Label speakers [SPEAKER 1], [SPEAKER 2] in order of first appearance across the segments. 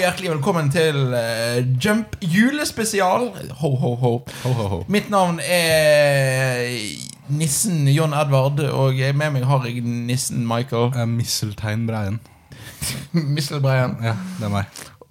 [SPEAKER 1] hjertelig velkommen til eh, Jump julespesial. Ho, ho, ho.
[SPEAKER 2] Ho, ho, ho.
[SPEAKER 1] Mitt navn er nissen John Edvard, og jeg- med meg har jeg nissen Michael
[SPEAKER 2] Eh, Misseltein Breien.
[SPEAKER 1] Misselbreien.
[SPEAKER 2] Ja, det er meg.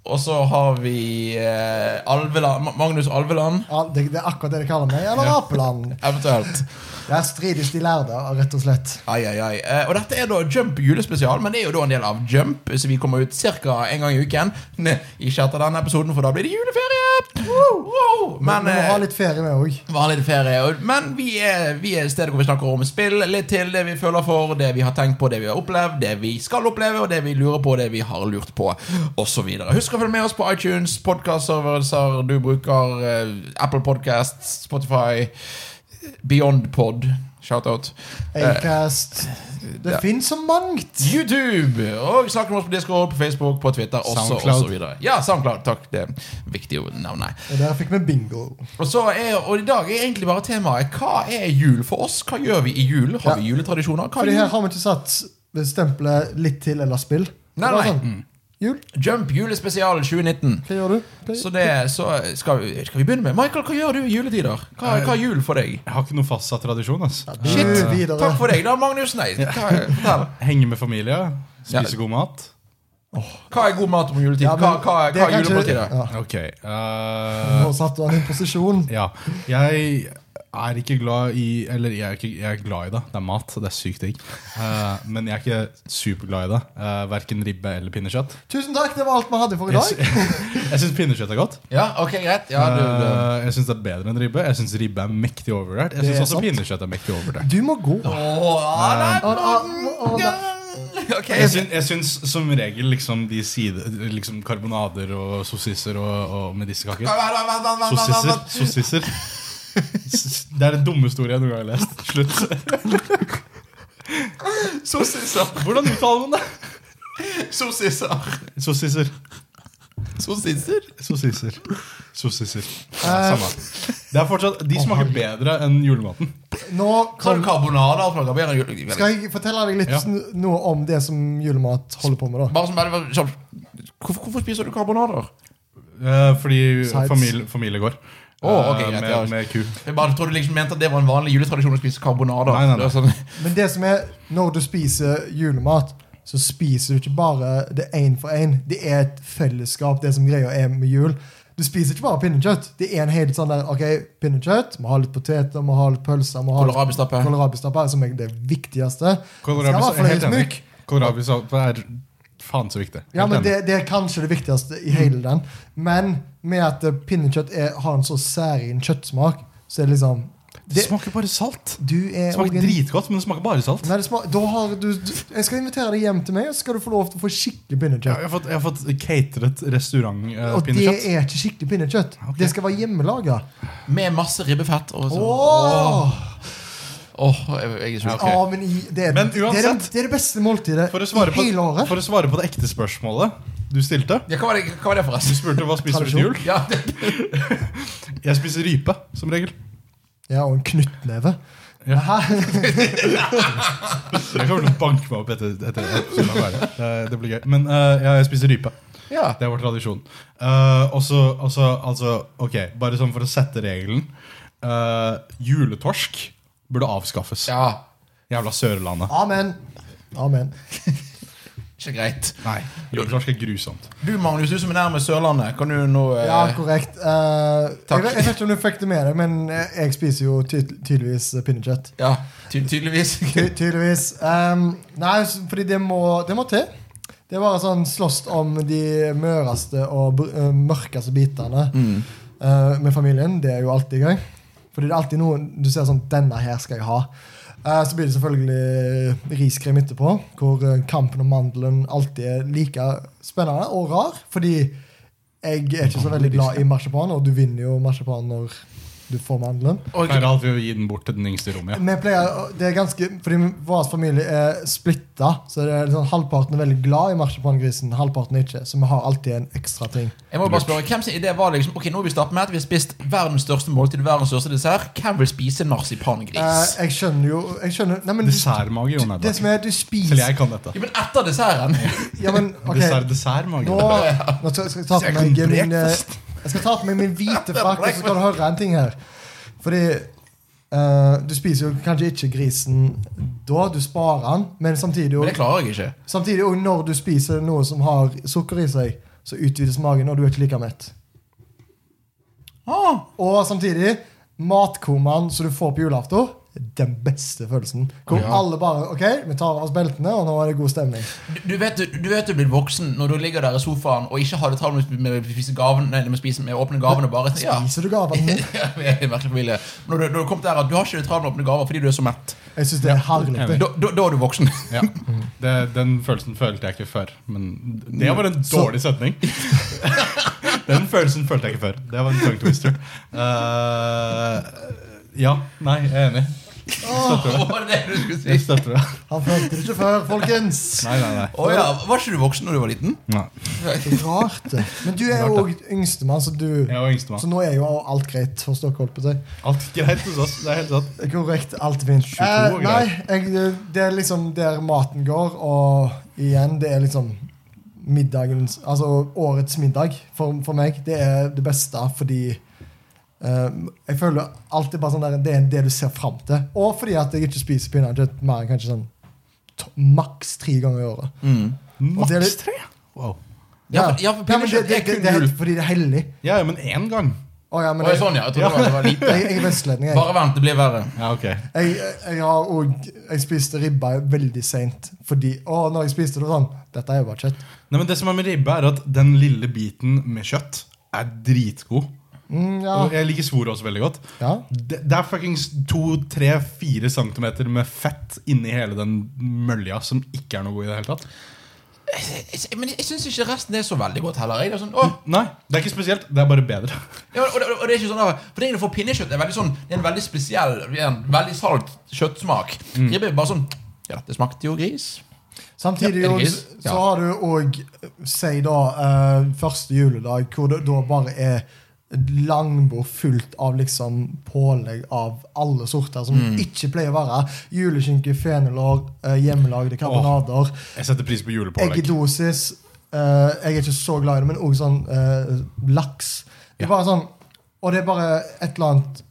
[SPEAKER 1] Og så har vi eh, Alveland, Ma- Magnus Alveland,
[SPEAKER 3] Ja, det, det er akkurat det de kaller meg. Eller Apeland.
[SPEAKER 1] eventuelt.
[SPEAKER 3] Jeg strides de lærde, rett og slett.
[SPEAKER 1] Ai, ai, ai. Eh, Og dette er da Jump julespesial, men det er jo da en del av Jump, så vi kommer ut ca. en gang i uken. Ne, Ikke etter denne episoden, for da blir det juleferie! Wow, wow.
[SPEAKER 3] Men,
[SPEAKER 1] Men
[SPEAKER 3] vi må ha
[SPEAKER 1] eh,
[SPEAKER 3] litt ferie, vi òg.
[SPEAKER 1] vanlig ferie. og- Men vi er, vi er stedet hvor vi snakker om spill, litt til det vi føler for, det vi har tenkt på, det vi har opplevd, det vi skal oppleve, og det vi lurer på, det vi har lurt på, osv. Husk å følge med oss på iTunes, podkastservicer du bruker, eh, Apple Podcast, Spotify, Beyond Pod. Shoutout. eh,
[SPEAKER 3] Acast. Det fins så mangt.
[SPEAKER 1] YouTube! Og snakk med oss på Discord, på Facebook, på Twitter også, og
[SPEAKER 2] Soundcloud.
[SPEAKER 1] så videre. Ja, SoundCloud. Takk. Det er viktig å nevne.
[SPEAKER 3] Og der fikk vi bingo.
[SPEAKER 1] Og, så er, og i dag er egentlig bare temaet hva er jul for oss? Hva gjør vi i jul? Har vi juletradisjoner? Hva er
[SPEAKER 3] Fordi her
[SPEAKER 1] jul?
[SPEAKER 3] har vi ikke satt stempelet 'litt til' eller 'spill'. Det
[SPEAKER 1] Nei,
[SPEAKER 3] var
[SPEAKER 1] nei. Mm.
[SPEAKER 3] sånn, Jul,
[SPEAKER 1] Jump julespesial 2019.
[SPEAKER 3] hva gjør du? Play-
[SPEAKER 1] Så, det, så skal, vi, skal vi begynne med Michael, hva gjør du i juletider? Hva, hva er jul for deg?
[SPEAKER 2] Jeg har ikke noe fastsatt tradisjon. ass
[SPEAKER 3] Ja, du
[SPEAKER 1] Shit!
[SPEAKER 3] videre.
[SPEAKER 1] Takk for deg, da, Magnus. Nei, hva, fortell.
[SPEAKER 2] Henge med familie, spise
[SPEAKER 1] Ja.
[SPEAKER 2] god mat.
[SPEAKER 1] Hva er god mat om juletid?
[SPEAKER 3] Ja, men
[SPEAKER 1] Hva, hva,
[SPEAKER 3] det
[SPEAKER 1] hva er
[SPEAKER 3] kan ikke-
[SPEAKER 1] julemåltidet?
[SPEAKER 3] Ja.
[SPEAKER 2] Ok. eh,
[SPEAKER 3] Nå satt du han i posisjon.
[SPEAKER 2] ja. Jeg er ikke glad i Eller jeg er, ikke, jeg er glad i det. Det er mat, det er sykt digg. Eh, men jeg er ikke superglad i det. Uh, verken ribbe eller pinnekjøtt.
[SPEAKER 3] Tusen takk, det var alt vi hadde for i
[SPEAKER 2] Jeg,
[SPEAKER 3] dag.
[SPEAKER 2] sy- jeg syns pinnekjøtt er godt.
[SPEAKER 1] Ja, ok, greit. Ja, du, du.
[SPEAKER 2] Eh, jeg syns det er bedre enn ribbe. Jeg syns ribbe er mektig overvurdert. Jeg
[SPEAKER 3] Det
[SPEAKER 2] syns
[SPEAKER 3] er
[SPEAKER 2] også
[SPEAKER 3] sant.
[SPEAKER 2] pinnekjøtt er mektig overvurdert.
[SPEAKER 3] Du må gå.
[SPEAKER 1] Åh,
[SPEAKER 3] Åh, åh, åh,
[SPEAKER 1] nei, men- Ok,
[SPEAKER 2] Jeg syns, jeg syns som regel liksom de side, liksom karbonader og sossisser og, og medisterkaker Sossisser. sossisser. S- Det er den dummeste ordet jeg noen gang har lest. Slutt.
[SPEAKER 1] Sossisser.
[SPEAKER 2] Hvordan uttaler man det?
[SPEAKER 1] Sossisser.
[SPEAKER 2] Sossisser.
[SPEAKER 1] Sossisser?
[SPEAKER 2] Sossisser. Sossisser.
[SPEAKER 3] Eh.
[SPEAKER 2] Ja, Samme. Det er fortsatt, de smaker bedre enn julematen.
[SPEAKER 3] Nå
[SPEAKER 1] Sa du
[SPEAKER 3] kom,
[SPEAKER 1] karbonader? fra Gabriel?
[SPEAKER 3] skal jeg fortelle deg litt
[SPEAKER 2] Ja.
[SPEAKER 3] sn- noe om det som julemat holder på med. da
[SPEAKER 1] Bare som bare, bare- kjapt. hvorfor, hvorfor spiser du karbonader?
[SPEAKER 2] Eh, Fordi
[SPEAKER 3] Sides.
[SPEAKER 2] familie, familie går.
[SPEAKER 1] Å, ok,
[SPEAKER 2] Eh,
[SPEAKER 1] greit, ja.
[SPEAKER 2] med, med ku.
[SPEAKER 1] Jeg bare trodde liksom mente at det var en vanlig juletradisjon å spise karbonader.
[SPEAKER 2] Nei, nei, nei.
[SPEAKER 1] Det var sånn,
[SPEAKER 3] Men det som er, når du spiser julemat, så spiser du ikke bare det én for én. Det er et fellesskap, det som greia er med jul. Du spiser ikke bare pinnekjøtt. Det er en helt sånn der, ok, pinnekjøtt, må ha litt poteter, må ha litt pølser, må ha litt
[SPEAKER 1] Kålrabistappe.
[SPEAKER 3] kålrabistappe, som er det viktigste.
[SPEAKER 2] Kålrabi
[SPEAKER 3] Skal være
[SPEAKER 2] helt
[SPEAKER 3] fløyelsmyk.
[SPEAKER 2] enig. Kålrabisalat er faen så viktig.
[SPEAKER 3] Ja,
[SPEAKER 2] Helt Mm. enig.
[SPEAKER 3] men det, det er kanskje det viktigste i hele den. Men med at eh, pinnekjøtt er, har en så særegen kjøttsmak, så er det liksom
[SPEAKER 2] det
[SPEAKER 3] det,
[SPEAKER 2] smaker bare salt.
[SPEAKER 3] Du er
[SPEAKER 2] Det smaker
[SPEAKER 3] også en-
[SPEAKER 2] dritgodt, men det smaker bare salt.
[SPEAKER 3] Nei, det smak, da har du, du, jeg skal invitere deg hjem til meg, og så skal du få lov til å få
[SPEAKER 2] Ja,
[SPEAKER 3] skikkelig pinnekjøtt.
[SPEAKER 2] jeg, har fått, jeg har fått eh, cateret
[SPEAKER 3] og det
[SPEAKER 2] restaurantpinnekjøtt.
[SPEAKER 3] er ikke skikkelig pinnekjøtt.
[SPEAKER 2] Ok.
[SPEAKER 3] Det skal være hjemmelaga.
[SPEAKER 1] med masse ribbefett. Og så,
[SPEAKER 3] Åh!
[SPEAKER 1] Åh, jeg- jeg er sulten.
[SPEAKER 2] ok.
[SPEAKER 3] Ja, men i, det, er,
[SPEAKER 2] Men
[SPEAKER 3] det, er det,
[SPEAKER 2] uansett-
[SPEAKER 3] det er det beste måltidet
[SPEAKER 2] for, å svare
[SPEAKER 3] i
[SPEAKER 2] på,
[SPEAKER 3] hele året.
[SPEAKER 2] for å svare på det ekte spørsmålet du stilte
[SPEAKER 1] Ja, hva, var det, hva var det,
[SPEAKER 2] Du
[SPEAKER 1] forresten?
[SPEAKER 2] spurte hva spiser du til jul.
[SPEAKER 1] Ja, det,
[SPEAKER 2] Jeg spiser rype, som regel.
[SPEAKER 3] Ja, og en knyttneve.
[SPEAKER 2] Ja.
[SPEAKER 3] Hæ?
[SPEAKER 2] Jeg kommer til å banke meg opp etter, etter, etter episoden er ferdig. Eh, Det blir gøy. Men eh, ja, jeg spiser rype.
[SPEAKER 1] ja.
[SPEAKER 2] Det er vår tradisjon. Eh, og så, og så- altså, ok, bare sånn for å sette regelen. Eh, juletorsk burde avskaffes.
[SPEAKER 1] ja.
[SPEAKER 2] Jævla Sørlandet.
[SPEAKER 3] Amen. Amen.
[SPEAKER 1] Ikke greit.
[SPEAKER 2] Nei, juletorsk er grusomt.
[SPEAKER 1] Du, Magnus, du som er nærmest Sørlandet, kan du nå eh,
[SPEAKER 3] Ja, korrekt. Eh,
[SPEAKER 1] Takk.
[SPEAKER 3] jeg, vet- jeg vet ikke om du fikk det med deg, men jeg jeg spiser jo ty tydeligvis pinnekjøtt.
[SPEAKER 1] ja, ty tydeligvis.
[SPEAKER 3] Ty tydeligvis. Ehm, nei, s- fordi det må, det må til. Det er bare sånn slåss om de møreste og br- eh, mørkeste bitene eh, med familien. Det er jo alltid gøy. Fordi det er alltid noen du ser sånn 'Denne her skal jeg ha'. Eh, så blir det selvfølgelig riskrem etterpå, hvor eh, kampen om mandelen alltid er like spennende og rar. Fordi jeg er ikke så veldig glad i marsipan, og du vinner jo marsipan når du får mandelen.
[SPEAKER 1] Og,
[SPEAKER 2] Pleier alltid å gi den bort til den yngste i rommet.
[SPEAKER 3] Vi pleier, å- det er ganske, fordi vår familie er splitta, så det er sånn, halvparten er veldig glad i marsipangrisen, halvparten er ikke. Så vi har alltid en ekstra ting.
[SPEAKER 1] jeg må bare spørre, Hvem sin idé var det liksom Ok, nå har vi startet med at vi har spist verdens største måltid, verdens største dessert. Hvem vil spise
[SPEAKER 3] Eh,
[SPEAKER 1] marsipangris?
[SPEAKER 3] jeg skjønner jo jeg skjønner, nei, men du,
[SPEAKER 2] Dessertmage, Jon
[SPEAKER 3] Det som
[SPEAKER 2] Edvard.
[SPEAKER 3] er, du
[SPEAKER 2] Selv
[SPEAKER 3] spiser
[SPEAKER 2] jeg kan dette.
[SPEAKER 1] Ja, men etter desserten!
[SPEAKER 3] Ja, men ok
[SPEAKER 2] Dessert, dessertmage.
[SPEAKER 3] Nå, nå skal skal jeg ta på meg
[SPEAKER 2] Second
[SPEAKER 3] min eh,
[SPEAKER 2] breakfast.
[SPEAKER 3] Jeg skal ta på meg min hvite frakk, og så skal du høre en ting her. Fordi eh, du spiser jo kanskje ikke grisen da, du sparer den, men samtidig
[SPEAKER 1] Men
[SPEAKER 3] jo,
[SPEAKER 1] det klarer jeg ikke.
[SPEAKER 3] samtidig jo når du spiser noe som har sukker i seg, så utvides magen, og du er ikke like mett.
[SPEAKER 1] Ah,
[SPEAKER 3] Og samtidig, matkomaen som du får på julaften, den beste følelsen. Hvor
[SPEAKER 1] Ja.
[SPEAKER 3] alle bare Ok, vi tar av oss beltene, og nå er det god stemning.
[SPEAKER 1] du, du, vet, du vet du blir voksen når du ligger der i sofaen og ikke har det travelt med, med, å spise gaven, nei, med, å spise, med å åpne gaven og bare ja.
[SPEAKER 3] Spiser du gaven?
[SPEAKER 1] Ja, vi er i merkelig familie. Når du, når du kom der at du har ikke det travelt med å åpne gaver fordi du er så mett,
[SPEAKER 3] Jeg syns det er herlig.
[SPEAKER 1] da, da, da er du voksen.
[SPEAKER 2] Ja. Det, den følelsen følte jeg ikke før. Men det var en
[SPEAKER 3] Så-
[SPEAKER 2] dårlig setning. Den følelsen følte jeg ikke før. Det var en tongue twister. Eh, ja. Nei, jeg er enig.
[SPEAKER 1] Det var det du skulle
[SPEAKER 2] Jeg
[SPEAKER 1] si.
[SPEAKER 2] støtter det.
[SPEAKER 3] Han følte det ikke før, folkens.
[SPEAKER 2] Nei, nei, nei.
[SPEAKER 1] Å ja, Var ikke du voksen når du var liten?
[SPEAKER 2] nei.
[SPEAKER 3] Rart det. Men du er jo òg yngstemann, så du
[SPEAKER 2] Jeg var yngstemann.
[SPEAKER 3] Så nå er jo alt greit hos dere, holdt på å si.
[SPEAKER 2] Alt greit hos oss. Det er helt sant.
[SPEAKER 3] Korrekt. Alt er fint.
[SPEAKER 2] 22
[SPEAKER 3] Eh,
[SPEAKER 2] og
[SPEAKER 3] nei,
[SPEAKER 2] greit.
[SPEAKER 3] jeg, det er liksom der maten går, og igjen, det er liksom middagens Altså årets middag for, for meg. Det er det beste fordi eh, jeg føler alltid bare sånn der, det er det du ser fram til. Og fordi at jeg ikke spiser pinnekjøtt mer enn kanskje sånn to, maks tre ganger i året. Og det er
[SPEAKER 2] Maks
[SPEAKER 3] litt-
[SPEAKER 2] tre? Wow.
[SPEAKER 1] Ja, for- ja, for
[SPEAKER 3] Nei, men det-
[SPEAKER 1] pinnekjøtt
[SPEAKER 3] det-
[SPEAKER 1] er kun
[SPEAKER 3] det- det er
[SPEAKER 1] gull.
[SPEAKER 3] Fordi det er hellig.
[SPEAKER 2] Ja, ja, men én gang.
[SPEAKER 3] Å, ja, men
[SPEAKER 1] Oi,
[SPEAKER 3] jeg,
[SPEAKER 1] sånn, ja. Jeg trodde det var- det var lite.
[SPEAKER 3] jeg, jeg er vestlending, jeg.
[SPEAKER 1] Bare vent, det blir verre.
[SPEAKER 2] Ja, ok.
[SPEAKER 3] Jeg, jeg, har og, jeg spiste ribba veldig seint. Fordi å, når jeg spiste det var sånn Dette er jo bare kjøtt.
[SPEAKER 2] Nei, men Det som er med ribbe, er at den lille biten med kjøtt er dritgod.
[SPEAKER 3] Mm, ja.
[SPEAKER 2] Og Jeg liker svor også veldig godt.
[SPEAKER 3] ja.
[SPEAKER 2] Det, det er fuckings to, tre, fire centimeter med fett inni hele den mølja som ikke er noe god i det hele tatt.
[SPEAKER 1] Jeg- jeg- Men jeg syns ikke resten er så veldig godt heller. Jeg er sånn, åh,
[SPEAKER 2] Nei, det er ikke spesielt. Det er bare bedre.
[SPEAKER 1] Ja, og, og, og det er ikke sånn der, For det er egentlig for pinnekjøtt det er veldig sånn Det er en veldig spesiell, en veldig salt kjøttsmak. Ribbe er bare sånn Ja, det smakte jo gris.
[SPEAKER 3] Samtidig
[SPEAKER 1] Ja,
[SPEAKER 3] jo,
[SPEAKER 1] er det gris?
[SPEAKER 3] så
[SPEAKER 1] Ja.
[SPEAKER 3] har du òg, si da, eh, første juledag, hvor det da bare er et langbord fullt av liksom pålegg av alle sorter som
[SPEAKER 1] Mm.
[SPEAKER 3] ikke pleier å være. Juleskinke, fenelår, eh, hjemmelagde karbonader.
[SPEAKER 2] Jeg setter pris på julepålegg.
[SPEAKER 3] Eggedosis. eh, jeg er ikke så glad i det, men også sånn eh, laks. Det er bare sånn, og det er bare et eller annet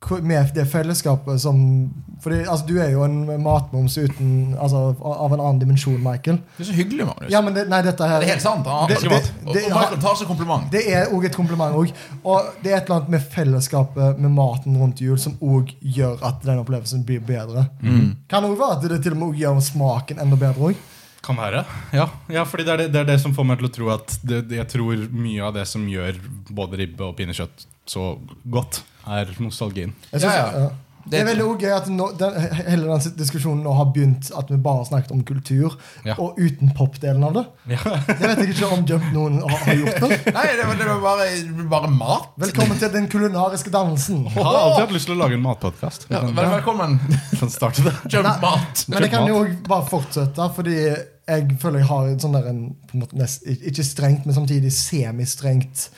[SPEAKER 3] k- med det fellesskapet som fordi, altså, Du er jo en matmoms uten, altså, av en annen dimensjon, Michael.
[SPEAKER 1] Det er så hyggelig, Magnus.
[SPEAKER 3] Ja, men det, nei, dette her
[SPEAKER 1] Det er helt sant. Han,
[SPEAKER 3] Det-
[SPEAKER 1] det, det,
[SPEAKER 3] det-
[SPEAKER 1] og
[SPEAKER 3] det-
[SPEAKER 1] Michael tar seg kompliment.
[SPEAKER 3] det er òg et kompliment. Også. Og det er et eller annet med fellesskapet med maten rundt jul som òg gjør at den opplevelsen blir bedre.
[SPEAKER 1] Mm.
[SPEAKER 3] Kan òg være at det til og med gjør smaken enda bedre òg.
[SPEAKER 2] Kan være. Ja, ja fordi det er det, det er det som får meg til å tro at det, det, jeg tror mye av det som gjør både ribbe og pinnekjøtt så godt, er nostalgien.
[SPEAKER 3] Jeg synes,
[SPEAKER 1] Ja, ja.
[SPEAKER 3] ja. Det er
[SPEAKER 1] Det-
[SPEAKER 3] veldig gøy at nå, den, hele den diskusjonen nå har begynt at vi bare har snakket om kultur,
[SPEAKER 2] Ja.
[SPEAKER 3] og uten popdelen av det.
[SPEAKER 2] Ja.
[SPEAKER 3] Det vet jeg ikke om Jump noen har, har gjort det.
[SPEAKER 1] Nei, det var, det var bare, bare mat.
[SPEAKER 3] Velkommen til den kulinariske dansen.
[SPEAKER 2] Jeg har alltid hatt lyst til å lage en matpodkast.
[SPEAKER 1] sånn, Ja, vel, velkommen.
[SPEAKER 2] Kan starte det.
[SPEAKER 1] Jump mat.
[SPEAKER 3] Men jeg kan jo også bare fortsette, fordi jeg føler jeg har en sånn der en, på en måte nest, Ikke strengt, men samtidig semistrengt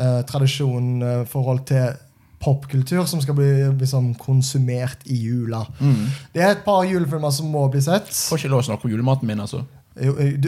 [SPEAKER 3] eh, tradisjon eh, forhold til popkultur som skal bli liksom, konsumert i jula. Det er et par julefilmer som må bli sett.
[SPEAKER 1] Får ikke lov å snakke om julematen min, altså.
[SPEAKER 3] Jo, eh, du,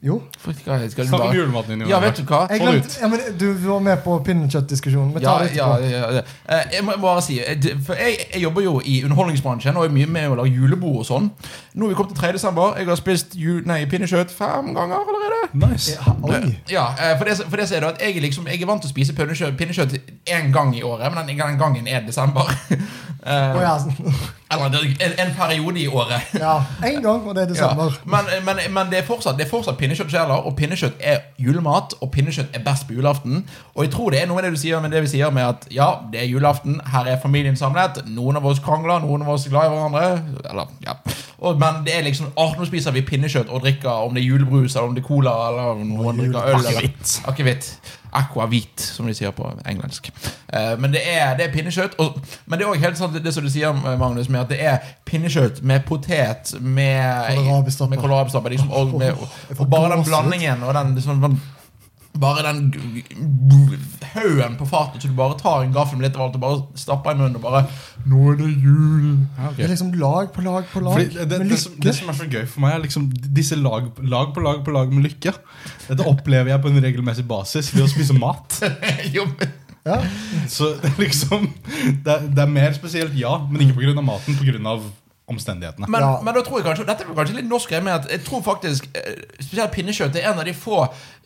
[SPEAKER 3] jo.
[SPEAKER 1] Får ikke- skal du
[SPEAKER 2] Snakk om
[SPEAKER 1] bare-
[SPEAKER 2] julematen din. Johan.
[SPEAKER 1] Ja, vet du hva?
[SPEAKER 3] Jeg
[SPEAKER 2] Hold
[SPEAKER 3] glemte, ja, men du var med på pinnekjøttdiskusjonen. Vi
[SPEAKER 1] Ja,
[SPEAKER 3] tar det
[SPEAKER 1] ja,
[SPEAKER 3] etterpå.
[SPEAKER 1] ja, ja. Eh, Jeg må jeg må bare si eh, det- For jeg, jeg jobber jo i underholdningsbransjen og er mye med å lage julebord og sånn. Nå er vi kommet til 3. desember. Jeg har spist ju- nei, pinnekjøtt fem ganger allerede.
[SPEAKER 2] Nice.
[SPEAKER 3] Ja, Oi.
[SPEAKER 1] Ja, eh, for det, for det så er det at jeg, er liksom, jeg er vant til å spise pinnekjøtt, pinnekjøtt én gang i året, men den, den gangen er desember. Eh,
[SPEAKER 3] Å, ja. sånn.
[SPEAKER 1] Eller det er en, en periode i året.
[SPEAKER 3] ja. En gang, og det er
[SPEAKER 1] Ja.
[SPEAKER 3] desember.
[SPEAKER 1] Men, men, men det er fortsatt, det er fortsatt pinnekjøttkjeler, og pinnekjøtt er julemat. Og pinnekjøtt er best på julaften. Og jeg tror det er noe med det du sier med det vi sier med at ja, det er julaften, her er familien samlet. Noen av oss krangler, noen av oss er glad i hverandre. Eller, ja. Og, men det er liksom åh, nå spiser vi pinnekjøtt og drikker om det er julebrus eller om det er cola eller om noen drikker øl. eller-
[SPEAKER 2] Akevitt.
[SPEAKER 1] Akevitt. Aquavit, som de sier på engelsk. Eh, men det er, det er pinnekjøtt. Og, men det er også helt sant det, det som du sier, Magnus, med at det er pinnekjøtt med potet med
[SPEAKER 3] Kålrabistappe.
[SPEAKER 1] med kålrabistappe, liksom, og, med,
[SPEAKER 3] Jeg
[SPEAKER 1] og,
[SPEAKER 3] får
[SPEAKER 1] og bare den
[SPEAKER 3] gåsehud.
[SPEAKER 1] blandingen og den liksom, den- bare den g- g- haugen på fatet, så du bare tar en gaffel med litt av alt og bare stapper i munnen og bare Nå er det jul!
[SPEAKER 3] Det er liksom lag på lag på lag.
[SPEAKER 2] Fordi det, det,
[SPEAKER 3] med
[SPEAKER 2] det,
[SPEAKER 3] lykke.
[SPEAKER 2] som, det som er så gøy for meg, er liksom disse lag, lag på lag på lag med lykke. Dette opplever jeg på en regelmessig basis ved å spise mat.
[SPEAKER 1] jo, men-
[SPEAKER 3] ja.
[SPEAKER 2] Så det er liksom Det er, det er mer spesielt, ja, men ikke pga. maten, pga. omstendighetene.
[SPEAKER 1] Men,
[SPEAKER 3] Ja.
[SPEAKER 1] men da tror jeg kanskje Dette er vel kanskje litt norsk greie med at jeg tror faktisk eh, Spesielt pinnekjøtt er en av de få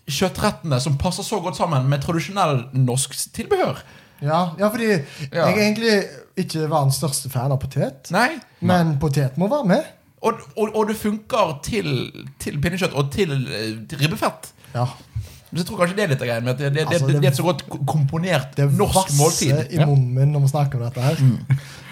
[SPEAKER 1] kjøttrettene som passer så godt sammen med tradisjonell norsk tilbehør.
[SPEAKER 3] Ja, ja, fordi
[SPEAKER 1] Ja.
[SPEAKER 3] jeg er egentlig ikke verdens største fan av potet.
[SPEAKER 1] Nei?
[SPEAKER 3] Men potet må være med.
[SPEAKER 1] Og, og, og det funker til, til pinnekjøtt og til, eh, til ribbefett.
[SPEAKER 3] Ja,
[SPEAKER 1] Så jeg tror kanskje det er litt av greien med at det, det,
[SPEAKER 3] Altså,
[SPEAKER 1] det,
[SPEAKER 3] det-
[SPEAKER 1] det er et så godt ko- komponert
[SPEAKER 3] Det
[SPEAKER 1] norsk
[SPEAKER 3] vasser
[SPEAKER 1] måltid. Mm.
[SPEAKER 3] i munnen min når vi snakker om dette her.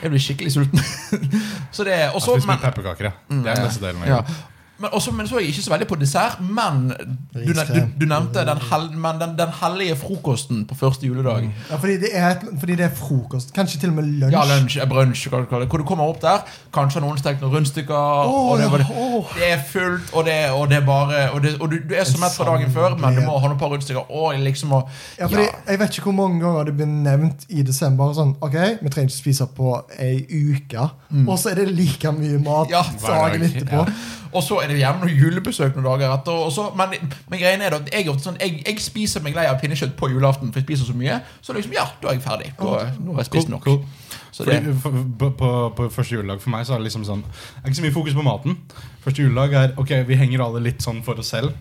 [SPEAKER 1] Jeg blir skikkelig sulten. så det er også,
[SPEAKER 2] Jeg spiser
[SPEAKER 1] men, Mm.
[SPEAKER 2] mye pepperkaker, jeg. Det er den beste delen. av
[SPEAKER 1] Ja.
[SPEAKER 2] jobben.
[SPEAKER 1] Men, også, men så er jeg ikke så veldig på dessert. Men du, ne- du, du nevnte den, hel, men den, den hellige frokosten på første juledag.
[SPEAKER 3] Ja, fordi, det er et, fordi det er frokost. Kanskje til og med lunsj.
[SPEAKER 1] Ja, lunsj, eh, brunsj, hva du kaller det. Hvor du kommer opp der, kanskje har noen stekt noen rundstykker.
[SPEAKER 3] Åh,
[SPEAKER 1] og det, var-
[SPEAKER 3] ja, åh.
[SPEAKER 1] det er fullt, og det, og det er bare Og, det, og du, du er så
[SPEAKER 3] En
[SPEAKER 1] mett fra dagen før, men du må
[SPEAKER 3] samlet.
[SPEAKER 1] ha noen par rundstykker. Og liksom og,
[SPEAKER 3] Ja, fordi Jeg vet ikke hvor mange ganger det blir nevnt i desember. Sånn, ok, Vi trenger ikke spise på ei uke. Og så er det like mye mat
[SPEAKER 1] Ja,
[SPEAKER 3] dagen
[SPEAKER 2] hver dag.
[SPEAKER 3] etterpå.
[SPEAKER 1] Og så er det gjerne noen julebesøk noen dager etter. Og så, men, men greien er da, at jeg, er ofte sånn, jeg, jeg spiser meg lei av pinnekjøtt på julaften, for jeg spiser så mye. Så liksom, ja, da er jeg ferdig. Da, nå har jeg spist
[SPEAKER 2] Cool,
[SPEAKER 1] nok.
[SPEAKER 2] cool.
[SPEAKER 1] Så det,
[SPEAKER 2] Fordi, for, på, på, på første juledag for meg så er det liksom sånn Det er ikke så mye fokus på maten. Første juledag er ok, vi henger alle litt sånn for oss selv.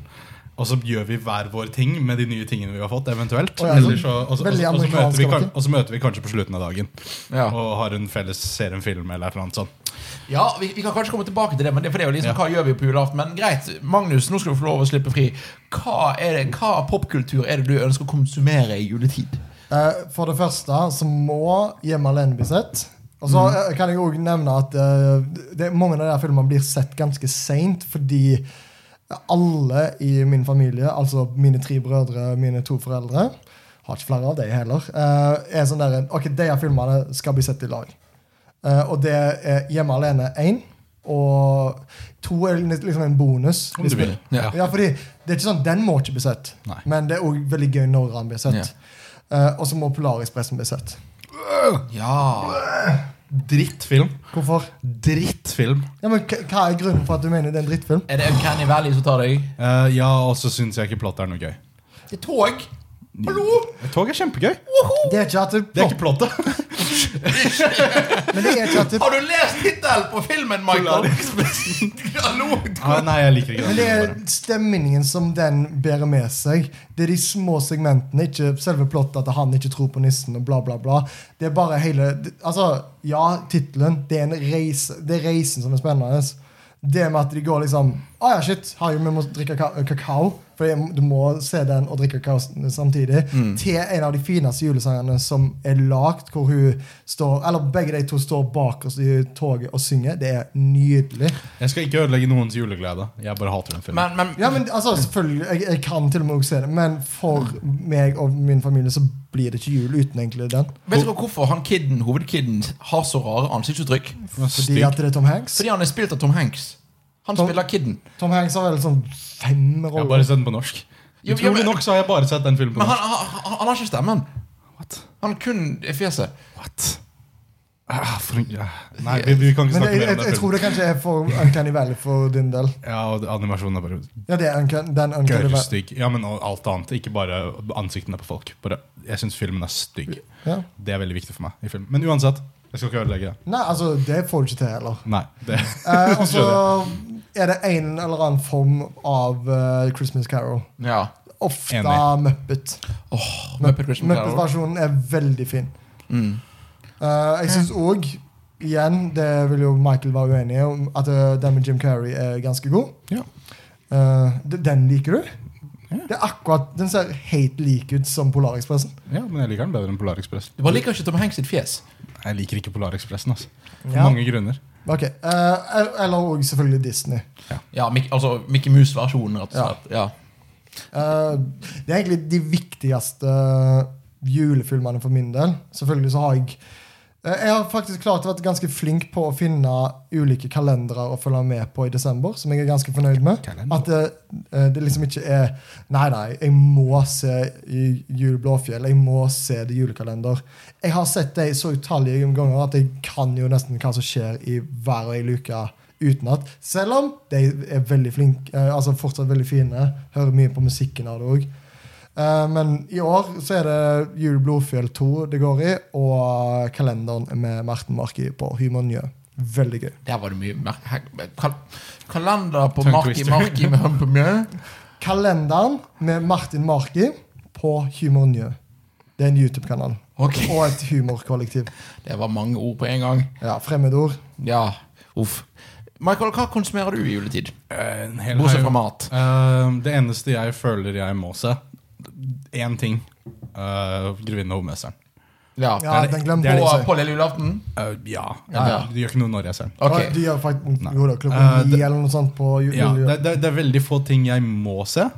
[SPEAKER 2] Og så gjør vi hver vår ting med de nye tingene vi har fått. eventuelt
[SPEAKER 3] Å, ja, sånn.
[SPEAKER 2] Eller så- Og så- og
[SPEAKER 3] Veldig
[SPEAKER 2] så- og så møter vi
[SPEAKER 3] amerikansk,
[SPEAKER 2] kan-
[SPEAKER 3] ikke?
[SPEAKER 2] og så møter vi kanskje på slutten av dagen
[SPEAKER 1] ja.
[SPEAKER 2] og har en felles ser en film eller et eller annet sånt.
[SPEAKER 1] ja, vi, vi kan kanskje komme tilbake til det, men det, for det er jo liksom,
[SPEAKER 2] Ja.
[SPEAKER 1] hva gjør vi på julaften? Men greit, Magnus, nå skal du få lov å slippe fri. Hva er det, hva av popkultur er det du ønsker å konsumere i juletid?
[SPEAKER 3] Eh, for det første så må Hjemme alene bli sett. Og så
[SPEAKER 2] Mm.
[SPEAKER 3] eh, kan jeg òg nevne at eh, det, mange av de her filmene blir sett ganske seint fordi alle i min familie, altså mine tre brødre, mine to foreldre Har ikke flere av dem heller. eh, er sånn der, ok, De her filmene skal bli sett i lag. Eh, og det er Hjemme alene 1. Og to er liksom en bonus.
[SPEAKER 2] Om du vil.
[SPEAKER 1] Ja.
[SPEAKER 3] Ja, fordi det er ikke sånn, Den må ikke bli sett,
[SPEAKER 2] Nei.
[SPEAKER 3] men det er også veldig gøy når han blir sett.
[SPEAKER 1] Ja.
[SPEAKER 3] Eh, og så må Polarispressen bli sett.
[SPEAKER 1] Ja,
[SPEAKER 2] Drittfilm.
[SPEAKER 3] Hvorfor?
[SPEAKER 2] Drittfilm.
[SPEAKER 3] Ja, men k- Hva er grunnen for at du mener det er en drittfilm?
[SPEAKER 1] Er det Uncanny Valley som tar deg?
[SPEAKER 2] Eh, ja, og så syns jeg ikke plott er noe gøy.
[SPEAKER 1] Det er tog! Hallo!
[SPEAKER 2] Tog er kjempegøy.
[SPEAKER 3] Det er ikke at det,
[SPEAKER 2] Det er ikke plottet.
[SPEAKER 3] men det er ikke at det,
[SPEAKER 1] Har du lest tittelen på filmen, Michael? Hallo!
[SPEAKER 2] Ah, nei, jeg liker ikke
[SPEAKER 3] men det er
[SPEAKER 2] det.
[SPEAKER 3] stemningen som den bærer med seg. Det er de små segmentene, ikke selve plottet at han ikke tror på nissen og bla, bla, bla. Det er bare hele det- Altså, ja, tittelen. Det er en reise Det er reisen som er spennende. Det med at de går liksom Å ja, shit, herregud, vi må drikke ka- kakao. For jeg- du må se den og drikke kakao s- samtidig. Til en av de fineste julesangene som er lagd, hvor hun står Eller begge de to står bak oss i toget og synger. Det er nydelig.
[SPEAKER 2] Jeg skal ikke ødelegge noens juleglede. Jeg bare hater den filmen.
[SPEAKER 1] Men, men,
[SPEAKER 3] Ja, men altså, selvfølgelig, jeg, jeg kan til og med også se det, men for meg og min familie så blir det ikke jul uten egentlig den.
[SPEAKER 1] Vet dere hvorfor han kidden, hovedkidden har så rare ansiktsuttrykk?
[SPEAKER 2] Den er
[SPEAKER 3] Fordi
[SPEAKER 2] stygg.
[SPEAKER 3] at det er Tom Hanks.
[SPEAKER 1] Fordi han er spilt av Tom Hanks. Han
[SPEAKER 3] Tom-
[SPEAKER 1] spiller kidden.
[SPEAKER 3] Tom Hanks har vel sånn fem
[SPEAKER 2] Jeg har bare
[SPEAKER 3] roller.
[SPEAKER 2] sett den på norsk.
[SPEAKER 1] Jo, jo,
[SPEAKER 2] Utrolig
[SPEAKER 1] men-
[SPEAKER 2] nok så har jeg bare sett den filmen på
[SPEAKER 1] Men han,
[SPEAKER 2] norsk.
[SPEAKER 1] han, han, han har ikke stemmen.
[SPEAKER 2] What?
[SPEAKER 1] Han har kun fjeset.
[SPEAKER 2] What? Ah, for, en- ja. Nei, vi, vi kan ikke
[SPEAKER 3] Men
[SPEAKER 2] snakke
[SPEAKER 3] jeg,
[SPEAKER 2] mer om
[SPEAKER 3] jeg, jeg
[SPEAKER 2] den
[SPEAKER 3] tror
[SPEAKER 2] filmen.
[SPEAKER 3] det kanskje er for Uncanny Valley for din del.
[SPEAKER 2] Ja, og animasjonen er bare
[SPEAKER 3] Ja, det er Uncanny, den Uncanny Valley.
[SPEAKER 2] gørrestygg. Ja, men og alt annet. Ikke bare ansiktene på folk. Bare, jeg syns filmen er stygg.
[SPEAKER 3] Ja.
[SPEAKER 2] Det er veldig viktig for meg i film. Men uansett, jeg skal ikke ødelegge det.
[SPEAKER 3] Nei, altså, det får du ikke til heller.
[SPEAKER 2] Nei, det
[SPEAKER 3] Eh, og så er det en eller annen form av eh, Christmas Carol.
[SPEAKER 1] Ja.
[SPEAKER 3] Ofte
[SPEAKER 2] Enig.
[SPEAKER 3] Muppet.
[SPEAKER 1] Muppet Christmas Carol.
[SPEAKER 3] Muppet-versjonen er veldig fin.
[SPEAKER 1] Mm.
[SPEAKER 3] Eh, jeg syns òg, igjen, det vil jo Michael være uenig i, om at eh, den med Jim Carrey er ganske god.
[SPEAKER 2] Ja.
[SPEAKER 3] Eh, d- den liker du?
[SPEAKER 2] Ja.
[SPEAKER 3] Det er akkurat, Den ser helt lik ut som Polarekspressen.
[SPEAKER 2] Ja, men jeg liker den bedre enn Polarekspressen.
[SPEAKER 1] Du bare liker ikke Tom Hanks sitt fjes.
[SPEAKER 2] Jeg liker ikke Polarekspressen. Altså. For
[SPEAKER 3] Ja.
[SPEAKER 2] mange grunner.
[SPEAKER 3] Ok, eh, el- Eller òg selvfølgelig Disney.
[SPEAKER 1] Ja, Mickey, altså Mickey Mouse-versjonen, rett og
[SPEAKER 3] Ja.
[SPEAKER 1] slett. Ja.
[SPEAKER 3] Eh, det er egentlig de viktigste eh, julefilmene for min del. Selvfølgelig så har jeg eh, Jeg har faktisk klart å være ganske flink på å finne ulike kalendere å følge med på i desember, som jeg er ganske fornøyd med.
[SPEAKER 2] Kalender?
[SPEAKER 3] At det, eh, det liksom ikke er Nei, nei, jeg må se i Jul Blåfjell. Jeg må se det i julekalender. Jeg har sett det så utallige ganger at jeg kan jo nesten hva som skjer i hver og en luke utenat. Selv om de er veldig flinke, eh, altså fortsatt veldig fine. Hører mye på musikken av det òg. Men i år så er det Jul Blodfjell 2 det går i, og kalenderen med Merten Marki på Hymonjø. Veldig gøy.
[SPEAKER 1] Der var det mye mer her- kal Kalender på
[SPEAKER 2] Tongue
[SPEAKER 1] Marki
[SPEAKER 2] twister.
[SPEAKER 1] Marki med Hump Mjø.
[SPEAKER 3] Kalenderen med Martin Marki på Hymonjø. Det er en YouTube-kanal.
[SPEAKER 1] Ok,
[SPEAKER 3] Og et humorkollektiv.
[SPEAKER 1] Det var mange ord på en gang.
[SPEAKER 3] Ja, Fremmedord.
[SPEAKER 1] Ja, uff. Michael, hva konsumerer du i juletid?
[SPEAKER 2] Eh, en hel
[SPEAKER 1] Bortsett fra
[SPEAKER 2] haug-
[SPEAKER 1] mat.
[SPEAKER 2] Eh, det eneste jeg føler jeg må se, én ting. Uh, 'Grevinnen og hovmesteren'.
[SPEAKER 1] Ja.
[SPEAKER 3] Ja, den glemte
[SPEAKER 1] På,
[SPEAKER 3] jeg.
[SPEAKER 1] på lille julaften?
[SPEAKER 2] Eh, ja.
[SPEAKER 1] Ja, ja.
[SPEAKER 2] Det gjør ikke noe når jeg ser den.
[SPEAKER 1] Ok.
[SPEAKER 3] Og de gjør faktisk
[SPEAKER 2] Nei.
[SPEAKER 3] jo da,
[SPEAKER 2] Eh,
[SPEAKER 3] klokken
[SPEAKER 2] det-
[SPEAKER 3] ni eller noe sånt på jul.
[SPEAKER 2] Ja, det, det, det er veldig få ting jeg må se.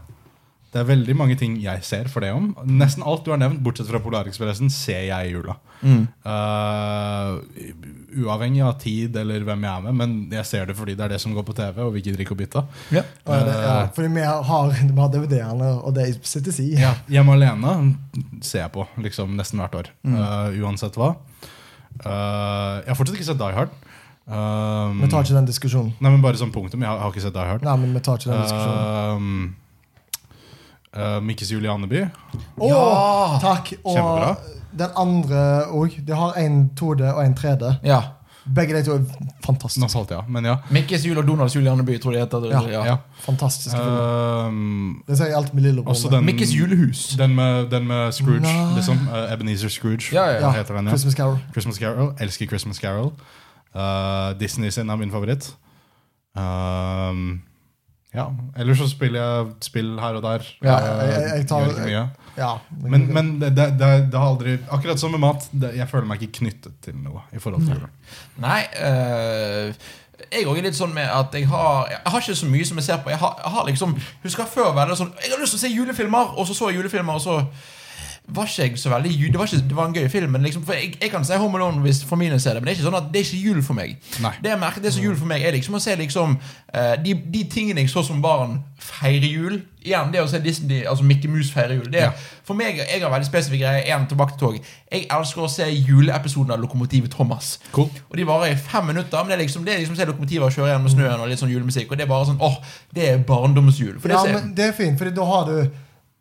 [SPEAKER 2] Det er veldig mange ting jeg ser for det om. Nesten alt du har nevnt, bortsett fra Polarekspressen, ser jeg i jula.
[SPEAKER 1] Mm.
[SPEAKER 2] Eh, uavhengig av tid eller hvem jeg er med, men jeg ser det fordi det er det som går på TV, og vi gidder ikke å bytte.
[SPEAKER 1] Ja.
[SPEAKER 3] Og er det, ja,
[SPEAKER 2] eh,
[SPEAKER 3] fordi vi har, vi har DVD-ene, og det sittes i.
[SPEAKER 2] Ja, Hjemme alene ser jeg på liksom nesten hvert år,
[SPEAKER 1] Mm.
[SPEAKER 2] eh, uansett hva. Eh, jeg har fortsatt ikke sett Die Hard. Um,
[SPEAKER 3] Vi tar ikke den diskusjonen.
[SPEAKER 2] Nei, men Bare som punktum. Jeg har, har ikke sett Die Hard.
[SPEAKER 3] Nei, men vi tar
[SPEAKER 2] Eh,
[SPEAKER 3] ikke den diskusjonen.
[SPEAKER 2] Um, uh, Mikkes Julianeby.
[SPEAKER 3] Å,
[SPEAKER 1] Ja!
[SPEAKER 3] takk! Og
[SPEAKER 2] Kjempebra.
[SPEAKER 3] den andre òg. De har en 2D og en 3D.
[SPEAKER 1] ja.
[SPEAKER 3] Begge de to er
[SPEAKER 2] Nå
[SPEAKER 3] fantastiske.
[SPEAKER 2] falt jeg av, men ja.
[SPEAKER 1] Mikkes jul og Donalds jul i Andeby, tror jeg det heter.
[SPEAKER 3] Ja.
[SPEAKER 1] Ja.
[SPEAKER 2] ja.
[SPEAKER 3] Fantastiske filmer.
[SPEAKER 2] Um,
[SPEAKER 3] Det sier jeg alt med
[SPEAKER 2] Eh, også
[SPEAKER 3] lillebror.
[SPEAKER 2] den,
[SPEAKER 1] Mikkes julehus.
[SPEAKER 2] den, med, den med Scrooge,
[SPEAKER 3] Nei.
[SPEAKER 2] liksom. Uh, Ebenezer Scrooge
[SPEAKER 1] Ja, ja,
[SPEAKER 3] Ja,
[SPEAKER 2] heter den. ja
[SPEAKER 3] Christmas Carol.
[SPEAKER 2] Christmas Carol. Elsker Christmas Carol. Uh, Disney sin er min favoritt. Um, ja. Ellers så spiller jeg spill her og der.
[SPEAKER 1] Ja,
[SPEAKER 2] Uh,
[SPEAKER 3] jeg- jeg- jeg tar-
[SPEAKER 2] gjør ikke mye.
[SPEAKER 3] Ja.
[SPEAKER 2] Men, men det, det, det, det har aldri Akkurat som med mat, det, jeg føler meg ikke knyttet til noe. I forhold til julen.
[SPEAKER 1] Nei eh, Jeg òg er litt sånn med at jeg har Jeg har ikke så mye som jeg ser på. Jeg har, jeg har liksom Husker jeg før var det sånn Jeg har lyst til å se julefilmer, og så så jeg julefilmer, og så var ikke jeg så veldig ju- Det var, ikke, det var en gøy film, men liksom for jeg, jeg kan se Home Alone hvis familien ser det, men det er ikke sånn at det er ikke jul for meg.
[SPEAKER 2] Nei.
[SPEAKER 1] Det jeg merker, det som er jul for meg, er liksom å se liksom eh, de, de tingene jeg så som barn feire jul. Igjen, det å se Disney, altså Mickey Mouse feire jul. Det,
[SPEAKER 2] Ja.
[SPEAKER 1] er For meg, jeg har veldig spesifikke greier. En tilbake til tog. Jeg elsker å se juleepisoden av Lokomotivet Thomas.
[SPEAKER 2] Cool.
[SPEAKER 1] Og de varer i fem minutter, men det er liksom, det er liksom se lokomotiver kjøre gjennom snøen og litt sånn julemusikk, og det er bare sånn åh, det er barndomsjul. For det
[SPEAKER 3] Ja,
[SPEAKER 1] ser-
[SPEAKER 3] men det er fint, Fordi da har du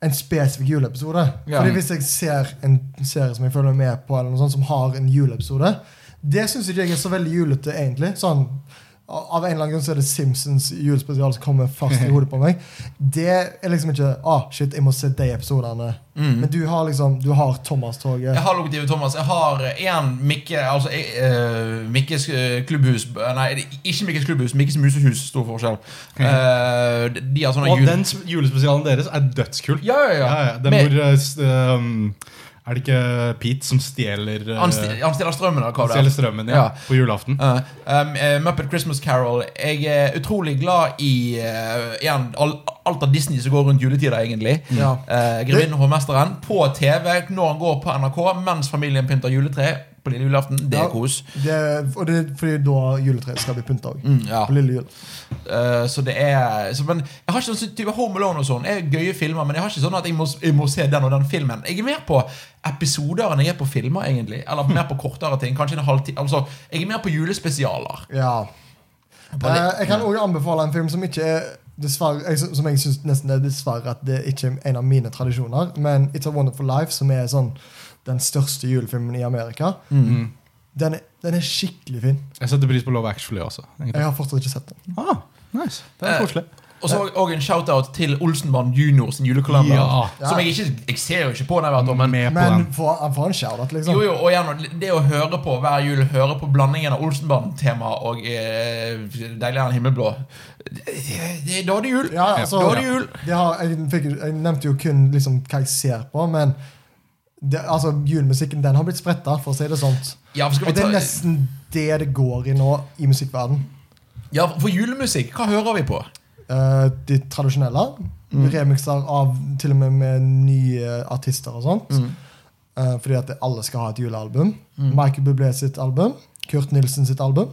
[SPEAKER 3] en spesifikk juleepisode.
[SPEAKER 1] Ja.
[SPEAKER 3] Fordi Hvis jeg ser en serie som jeg følger med på, Eller noe sånt som har en juleepisode Det syns ikke jeg er så veldig julete, egentlig. Sånn, av en eller annen grunn så er det Simpsons julespesial som kommer fast i hodet på meg. Det er liksom ikke ah, shit, jeg må se de episodene.
[SPEAKER 1] Mm.
[SPEAKER 3] Men du har liksom Du har Thomas-toget.
[SPEAKER 1] Jeg har lokomotivet Thomas. Jeg har eh, igjen Mikke Altså jeg, eh, Mikkes eh, klubbhus eh, Nei, det er ikke Mikkes klubbhus. Mikkes musehus. Stor forskjell.
[SPEAKER 2] Mm.
[SPEAKER 1] Eh, de- de har sånne
[SPEAKER 2] Og
[SPEAKER 1] jul...
[SPEAKER 2] den sp- julespesialen deres er dødskul.
[SPEAKER 1] Ja, ja, ja.
[SPEAKER 2] Ja, ja. Den
[SPEAKER 1] Med-
[SPEAKER 2] hvor eh, s- um, Er det ikke Pete som stjeler eh,
[SPEAKER 1] han, sti- han stiller strømmen av hva det
[SPEAKER 2] stjeler strømmen ja,
[SPEAKER 1] Ja.
[SPEAKER 2] på julaften?
[SPEAKER 1] Ja. Um, eh, Muppet Christmas Carol. Jeg er utrolig glad i eh, igjen, all, alt av Disney som går rundt juletider, egentlig.
[SPEAKER 3] Mm. Ja.
[SPEAKER 1] Eh, Grevinnen og hovmesteren på TV når han går på NRK mens familien pynter juletre på lille julaften. Det
[SPEAKER 3] Ja.
[SPEAKER 1] er kos.
[SPEAKER 3] Det, og det er fordi da juletreet skal bli pynta òg.
[SPEAKER 1] Mm, ja.
[SPEAKER 3] På lille jul.
[SPEAKER 1] Eh, så det er så, Men jeg har ikke sånn type Home Alone og sånn. Det er gøye filmer, men jeg har ikke sånn at jeg må, jeg må se den og den filmen. Jeg er mer på episoder enn jeg er på filmer, egentlig. Eller mer på kortere ting. Kanskje en halvtime. Altså, jeg er mer på julespesialer.
[SPEAKER 3] Ja.
[SPEAKER 1] Bare litt-
[SPEAKER 3] Eh, jeg kan også anbefale en film som ikke er dessverre, jeg sy- som jeg synes nesten er dessverre at det ikke er en av mine tradisjoner, men It's a Wonderful Life, som er sånn den største julefilmen i Amerika.
[SPEAKER 1] Mm.
[SPEAKER 3] Den, er, den er skikkelig fin.
[SPEAKER 2] Jeg setter pris på Love Actually også. egentlig.
[SPEAKER 3] Jeg har fortsatt ikke sett den.
[SPEAKER 2] Ah, nice. Det
[SPEAKER 1] Eh,
[SPEAKER 2] er koselig.
[SPEAKER 1] Og så og en shout-out til Olsenband Junior sin julekalender.
[SPEAKER 2] Ja.
[SPEAKER 1] Som jeg ikke Jeg ser jo ikke på den hvert år, men
[SPEAKER 2] Med på
[SPEAKER 3] Men
[SPEAKER 2] den.
[SPEAKER 3] for, han får en shout-out, liksom.
[SPEAKER 1] jo, jo, og igjen, det å høre på hver jul, høre på blandingen av Olsenband-tema og eh, Deiligere enn himmelblå det, det, Da er det jul!
[SPEAKER 3] Ja, altså,
[SPEAKER 1] Da er det jul!
[SPEAKER 3] det har, jeg, fikk, jeg nevnte jo kun liksom, hva jeg ser på, men det, altså, Julemusikken den har blitt spretta, for å si det sånn.
[SPEAKER 1] Ja, for skal vi
[SPEAKER 3] Og det er
[SPEAKER 1] ta-
[SPEAKER 3] nesten det det går i nå i musikkverden
[SPEAKER 1] Ja, for julemusikk, hva hører vi på?
[SPEAKER 3] Eh, de tradisjonelle. Remixer av til og med med nye artister og sånt. Eh, fordi at alle skal ha et julealbum. Michael Bublé sitt album. Kurt Nilsen sitt album.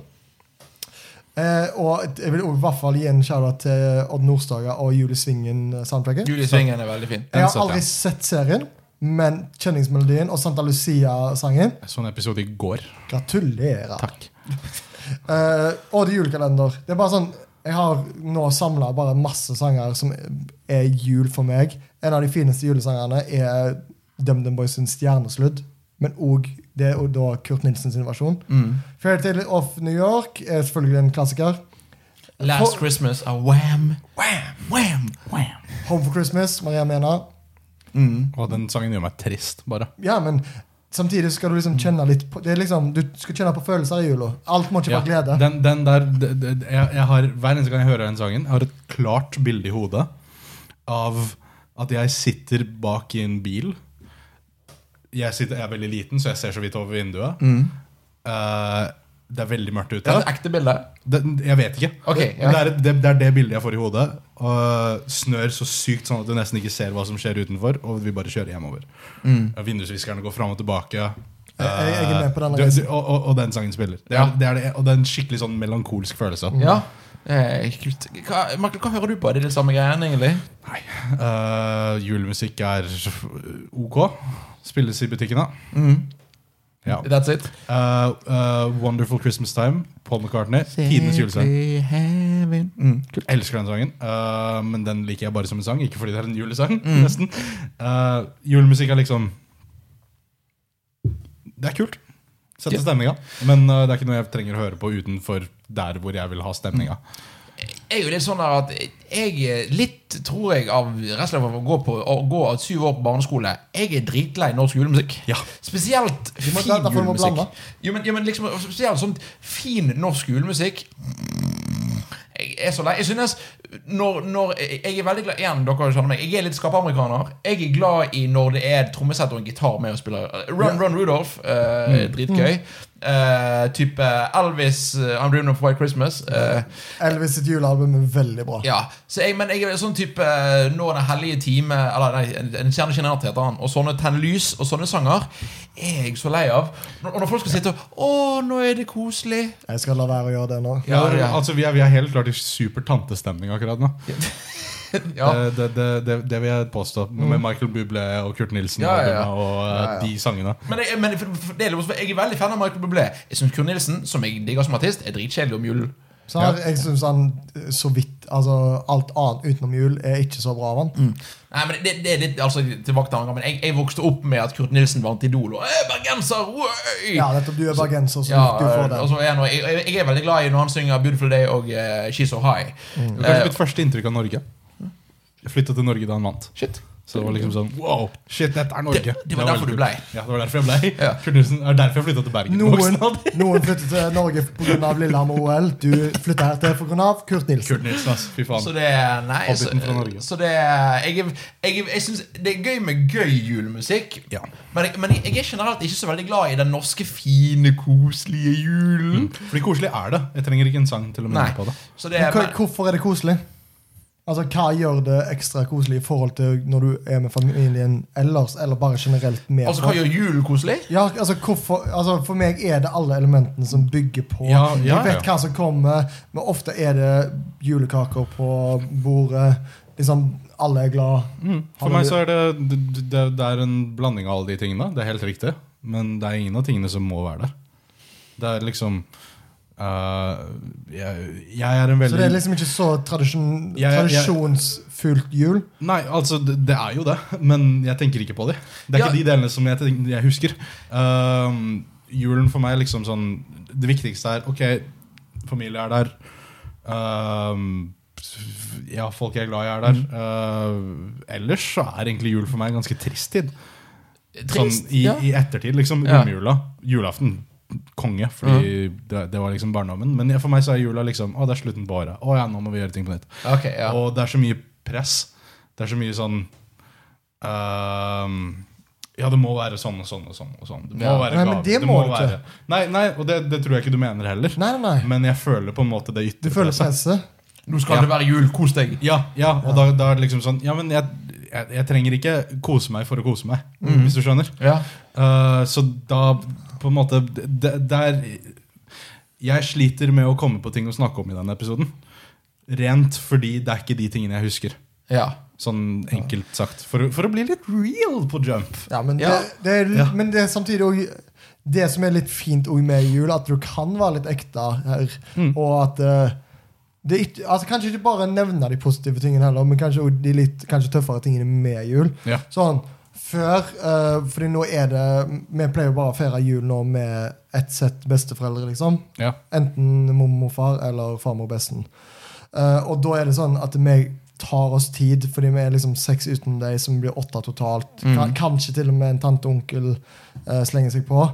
[SPEAKER 3] Eh, og et- jeg vil i hvert fall gi en shout-out til Odd Nordstoga og Julie Svingen-soundtracket.
[SPEAKER 1] Julesvingen er veldig fin.
[SPEAKER 3] Jeg
[SPEAKER 2] Den
[SPEAKER 3] har
[SPEAKER 2] satt
[SPEAKER 3] aldri sett serien, men kjenningsmelodien og Santa Lucia-sangen
[SPEAKER 2] Jeg så en Sånn episode i går.
[SPEAKER 3] Gratulerer.
[SPEAKER 2] Takk.
[SPEAKER 3] Eh, og det er julekalender. Det er bare sånn Jeg har nå samla bare masse sanger som er jul for meg. En av de fineste julesangerne er DumDum Boys sin Stjernesludd. Men òg det er jo da Kurt Nilsen sin versjon.
[SPEAKER 1] Mm.
[SPEAKER 3] Fairytale of New York er selvfølgelig en klassiker.
[SPEAKER 1] Last
[SPEAKER 3] For-
[SPEAKER 1] Christmas av Wham, Wham, Wham.
[SPEAKER 3] Home for Christmas, Maria Mena.
[SPEAKER 2] Og den sangen gjør meg trist, bare.
[SPEAKER 3] Ja, men samtidig skal du liksom kjenne litt på, det er liksom, Du skal kjenne på følelser i jula. Alt må ikke
[SPEAKER 2] Ja,
[SPEAKER 3] være glede.
[SPEAKER 2] den, den der d- d- d- jeg, jeg har, Hver eneste gang jeg hører den sangen, jeg har et klart bilde i hodet av at jeg sitter bak i en bil. Jeg, sitter, jeg er veldig liten, så jeg ser så vidt over vinduet. Eh, det er veldig mørkt
[SPEAKER 1] Det
[SPEAKER 2] ute.
[SPEAKER 1] er et ekte bilde.
[SPEAKER 2] Det, jeg vet ikke.
[SPEAKER 1] Ok, ja.
[SPEAKER 2] Men det, er, det, det er det bildet jeg får i hodet. Og snør så sykt sånn at du nesten ikke ser hva som skjer utenfor, og vi bare kjører hjemover.
[SPEAKER 1] Mm.
[SPEAKER 2] Ja, Vindusviskerne går fram og tilbake.
[SPEAKER 3] jeg- jeg er med på den
[SPEAKER 2] Eh, du,
[SPEAKER 3] reisen.
[SPEAKER 2] du, og, og, og den sangen spiller. Det er,
[SPEAKER 1] Ja.
[SPEAKER 2] det er det, og det er en skikkelig sånn melankolsk følelse.
[SPEAKER 3] Mm.
[SPEAKER 1] Ja. Eh, kult. Hva, Michael, hva hører du på? Er det de samme greiene, egentlig?
[SPEAKER 2] Nei. Eh, julemusikk er ok. Spilles i butikkene.
[SPEAKER 1] Mm.
[SPEAKER 2] Ja.
[SPEAKER 1] That's it?
[SPEAKER 2] Eh, eh, Wonderful Christmas Time, Paul McCartney. Tidenes julesang.
[SPEAKER 1] Heaven. Mm, kult.
[SPEAKER 2] Jeg elsker den sangen, øh, men den liker jeg bare som en sang. Ikke fordi det er en julesang,
[SPEAKER 1] Mm.
[SPEAKER 2] nesten. Øh, julemusikk er liksom Det er kult. Setter
[SPEAKER 1] Ja.
[SPEAKER 2] stemninga. Men øh, det er ikke noe jeg trenger å høre på utenfor der hvor jeg vil ha stemninga.
[SPEAKER 1] Mm. Jeg er jo litt sånn der at jeg er litt, tror jeg, av resten av å gå, på, å gå av syv år på barneskole Jeg er dritlei norsk julemusikk.
[SPEAKER 2] Ja.
[SPEAKER 1] Spesielt
[SPEAKER 3] må-
[SPEAKER 1] fin
[SPEAKER 3] derfor må du
[SPEAKER 1] julemusikk.
[SPEAKER 3] blande.
[SPEAKER 1] Jo, men, jo, men liksom, spesielt sånn fin norsk julemusikk Jeg er så lei. Jeg synes når, når, Jeg er veldig glad Igjen, dere kjenner meg. Jeg er litt skapamerikaner. Jeg er glad i når det er et trommesett og en gitar med og spiller. Run Run Rudolph.
[SPEAKER 3] Mm.
[SPEAKER 1] eh, Dritgøy. Eh, type Elvis, eh, I'm Dreaming of White Christmas. eh,
[SPEAKER 3] Elvis sitt julealbum er veldig bra.
[SPEAKER 1] ja, så jeg, men jeg er sånn type eh, Nå den hellige time Eller nei, en- en kjernegenert heter han Og sånne tenn lys og sånne sanger Er jeg så lei av Når- Og når folk skal sitte og Åh, nå er det koselig
[SPEAKER 3] Jeg skal la være å gjøre det nå.
[SPEAKER 1] Ja, ja.
[SPEAKER 2] Altså, vi er, vi er helt klart i super tantestemning akkurat nå.
[SPEAKER 1] Ja,
[SPEAKER 3] Eh.
[SPEAKER 1] Mm.
[SPEAKER 2] Det, det, det, det, det vil jeg påstå. Med Michael Bublé og Kurt Nilsen
[SPEAKER 1] Ja, ja, ja.
[SPEAKER 2] albumet og øh,
[SPEAKER 3] Ja, ja.
[SPEAKER 2] de sangene.
[SPEAKER 1] men, jeg, men for, for det er, litt- jeg er veldig fan av Michael Bublé Jeg synes Kurt Nilsen, som jeg digger som artist Er dritkjedelig om julen
[SPEAKER 3] Så her, jeg synes han eh, så vidt altså, Alt annet utenom jul er ikke så bra av han.
[SPEAKER 1] Nei, men det, det er litt altså, tilbake til andre Men jeg, jeg vokste opp med at Kurt Nilsen vant idol Og «Øy, bergenser, oi
[SPEAKER 3] Ja, nettopp, du er bergenser, så
[SPEAKER 1] Ja, øh, eh, altså,
[SPEAKER 3] du får det.
[SPEAKER 1] og så er han- jeg, jeg, jeg er veldig glad i når han synger Beautiful Day og eh, She's So High Eh,
[SPEAKER 2] Det
[SPEAKER 3] Mm.
[SPEAKER 2] var kanskje mitt første inntrykk av Norge. Jeg flytta til Norge da han vant.
[SPEAKER 1] Shit
[SPEAKER 2] Så det var liksom sånn Wow, shit, dette er Norge.
[SPEAKER 1] Det- det var derfor du
[SPEAKER 2] veldig kult.
[SPEAKER 1] blei.
[SPEAKER 2] Ja, det var derfor jeg blei.
[SPEAKER 1] Ja.
[SPEAKER 2] Kurt Nilsen er derfor jeg flytta til Bergen.
[SPEAKER 3] Noen,
[SPEAKER 2] Voksen alder.
[SPEAKER 3] noen flytter til Norge pga. Lillehammer-OL. Du flytter her til pga. Kurt Nilsen.
[SPEAKER 2] Kurt Nilsen, ass. Fy faen.
[SPEAKER 1] Så det er Nei, så,
[SPEAKER 2] Hobbiten fra Norge.
[SPEAKER 1] så det er Jeg, er- jeg, er- jeg synes det er gøy med gøy julemusikk,
[SPEAKER 2] Ja.
[SPEAKER 1] men, jeg, men jeg, jeg er generelt ikke så veldig glad i den norske fine, koselige julen.
[SPEAKER 2] Fordi koselig er det. Jeg trenger ikke en sang til å minne
[SPEAKER 1] Nei.
[SPEAKER 2] på det.
[SPEAKER 1] Så det
[SPEAKER 3] Men
[SPEAKER 1] er
[SPEAKER 3] hva- Hvorfor er det koselig? Altså, Hva gjør det ekstra koselig i forhold til når du er med familien ellers, eller bare generelt med
[SPEAKER 1] Altså, hva gjør julen koselig?
[SPEAKER 3] Ja, altså, hvorfor, altså For meg er det alle elementene som bygger på.
[SPEAKER 2] Ja, ja,
[SPEAKER 3] jeg vet
[SPEAKER 2] ja.
[SPEAKER 3] hva som kommer, men ofte er det julekaker på bordet. Liksom, Alle er glad.
[SPEAKER 2] Mm, For meg så er det, det, det, det er en blanding av alle de tingene. Det er helt riktig. Men det er ingen av tingene som må være der. Det er liksom øh, jeg, jeg er en
[SPEAKER 3] Så
[SPEAKER 2] veldig
[SPEAKER 3] det er liksom ikke så tradisjon,
[SPEAKER 2] Jeg- jeg-
[SPEAKER 3] tradisjonsfullt jul.
[SPEAKER 2] Nei, altså, det, det er jo det, men jeg tenker ikke på det. Det er
[SPEAKER 1] Ja.
[SPEAKER 2] ikke de delene som jeg, tenk- jeg husker. Ehm, julen for meg er liksom sånn Det viktigste er ok, familie er der. Ehm, ja, folk jeg er glad i, er der.
[SPEAKER 1] Mm.
[SPEAKER 2] Ehm, ellers så er egentlig jul for meg en ganske trist tid.
[SPEAKER 1] Trist.
[SPEAKER 2] sånn i,
[SPEAKER 1] ja.
[SPEAKER 2] i ettertid, liksom.
[SPEAKER 1] Ja.
[SPEAKER 2] Romjula. Julaften. Konge, fordi det, det var liksom barndommen. Men for meg så er jula liksom Å, det er slutten på året. Å ja, nå må vi gjøre ting på nytt.
[SPEAKER 1] Ok, ja.
[SPEAKER 2] Og det er så mye press. Det er så mye sånn ehm, Ja, det må være sånn og sånn og sånn. Og sånn. Det må
[SPEAKER 1] Ja.
[SPEAKER 2] være
[SPEAKER 3] Nei,
[SPEAKER 2] gaver.
[SPEAKER 3] men det må du ikke.
[SPEAKER 2] Nei, nei, og det, det tror jeg ikke du mener heller.
[SPEAKER 3] Nei, nei, nei.
[SPEAKER 2] Men jeg føler på en måte det
[SPEAKER 3] Du
[SPEAKER 2] ytre
[SPEAKER 3] føler
[SPEAKER 2] presset.
[SPEAKER 3] presset.
[SPEAKER 1] Nå skal
[SPEAKER 2] Ja.
[SPEAKER 1] det være jul. Kos deg.
[SPEAKER 2] Ja, ja, og Da, da er det liksom sånn Ja, men jeg, jeg, jeg trenger ikke kose meg for å kose meg,
[SPEAKER 3] Mm.
[SPEAKER 2] hvis du skjønner.
[SPEAKER 1] Ja.
[SPEAKER 2] Eh, så da på en måte d- Der Jeg sliter med å komme på ting å snakke om i denne episoden. Rent fordi det er ikke de tingene jeg husker.
[SPEAKER 1] ja.
[SPEAKER 2] Sånn enkelt sagt. For, å- for å bli litt real på jump.
[SPEAKER 3] Ja, men,
[SPEAKER 1] Ja.
[SPEAKER 3] Det, det er,
[SPEAKER 2] Ja.
[SPEAKER 3] men det er samtidig også, Det som er litt fint også med jul, at du kan være litt ekte her.
[SPEAKER 2] Mm.
[SPEAKER 3] Og at eh, det, er ikke- altså, Kanskje ikke bare nevne de positive tingene heller, men kanskje også de litt kanskje tøffere tingene med jul.
[SPEAKER 2] Ja.
[SPEAKER 3] Sånn, før eh, Fordi nå er det Vi pleier jo bare å feire jul nå med ett sett besteforeldre, liksom.
[SPEAKER 2] Ja.
[SPEAKER 3] Enten mormor, far eller farmor, besten. Eh, og da er det sånn at vi tar oss tid, fordi vi er liksom seks uten deg, som blir åtte totalt.
[SPEAKER 2] Mm.
[SPEAKER 3] Ka- Kanskje til og med en tante og onkel eh, slenger seg på.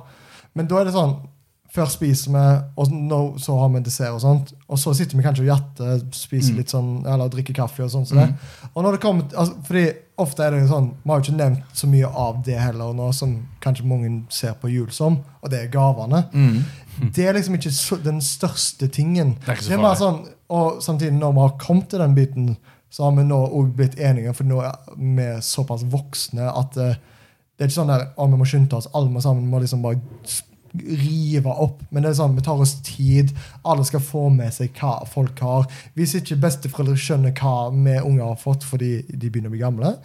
[SPEAKER 3] Men da er det sånn Først spiser vi, og nå, så har vi dessert og sånt. Og så sitter vi kanskje og jatter,
[SPEAKER 2] Mm.
[SPEAKER 3] spiser litt sånn, eller drikker kaffe og sånn. som det. Og når det kommer, til- altså, fordi ofte er det jo sånn, Vi har jo ikke nevnt så mye av det heller nå, som kanskje mange ser på jul som, og det er gavene. Det er liksom ikke så, den største tingen.
[SPEAKER 2] Mm. Det er ikke så
[SPEAKER 3] bare
[SPEAKER 2] farlig.
[SPEAKER 3] sånn, og samtidig, når vi har kommet til den biten, så har vi nå også blitt enige, for nå er vi såpass voksne at eh, det er ikke sånn der, å, vi må skynde oss, alle må sammen må liksom bare s- rive opp. Men det er sånn, vi tar oss tid, alle skal få med seg hva folk har. Hvis ikke besteforeldre skjønner hva vi unger har fått fordi de begynner å bli gamle,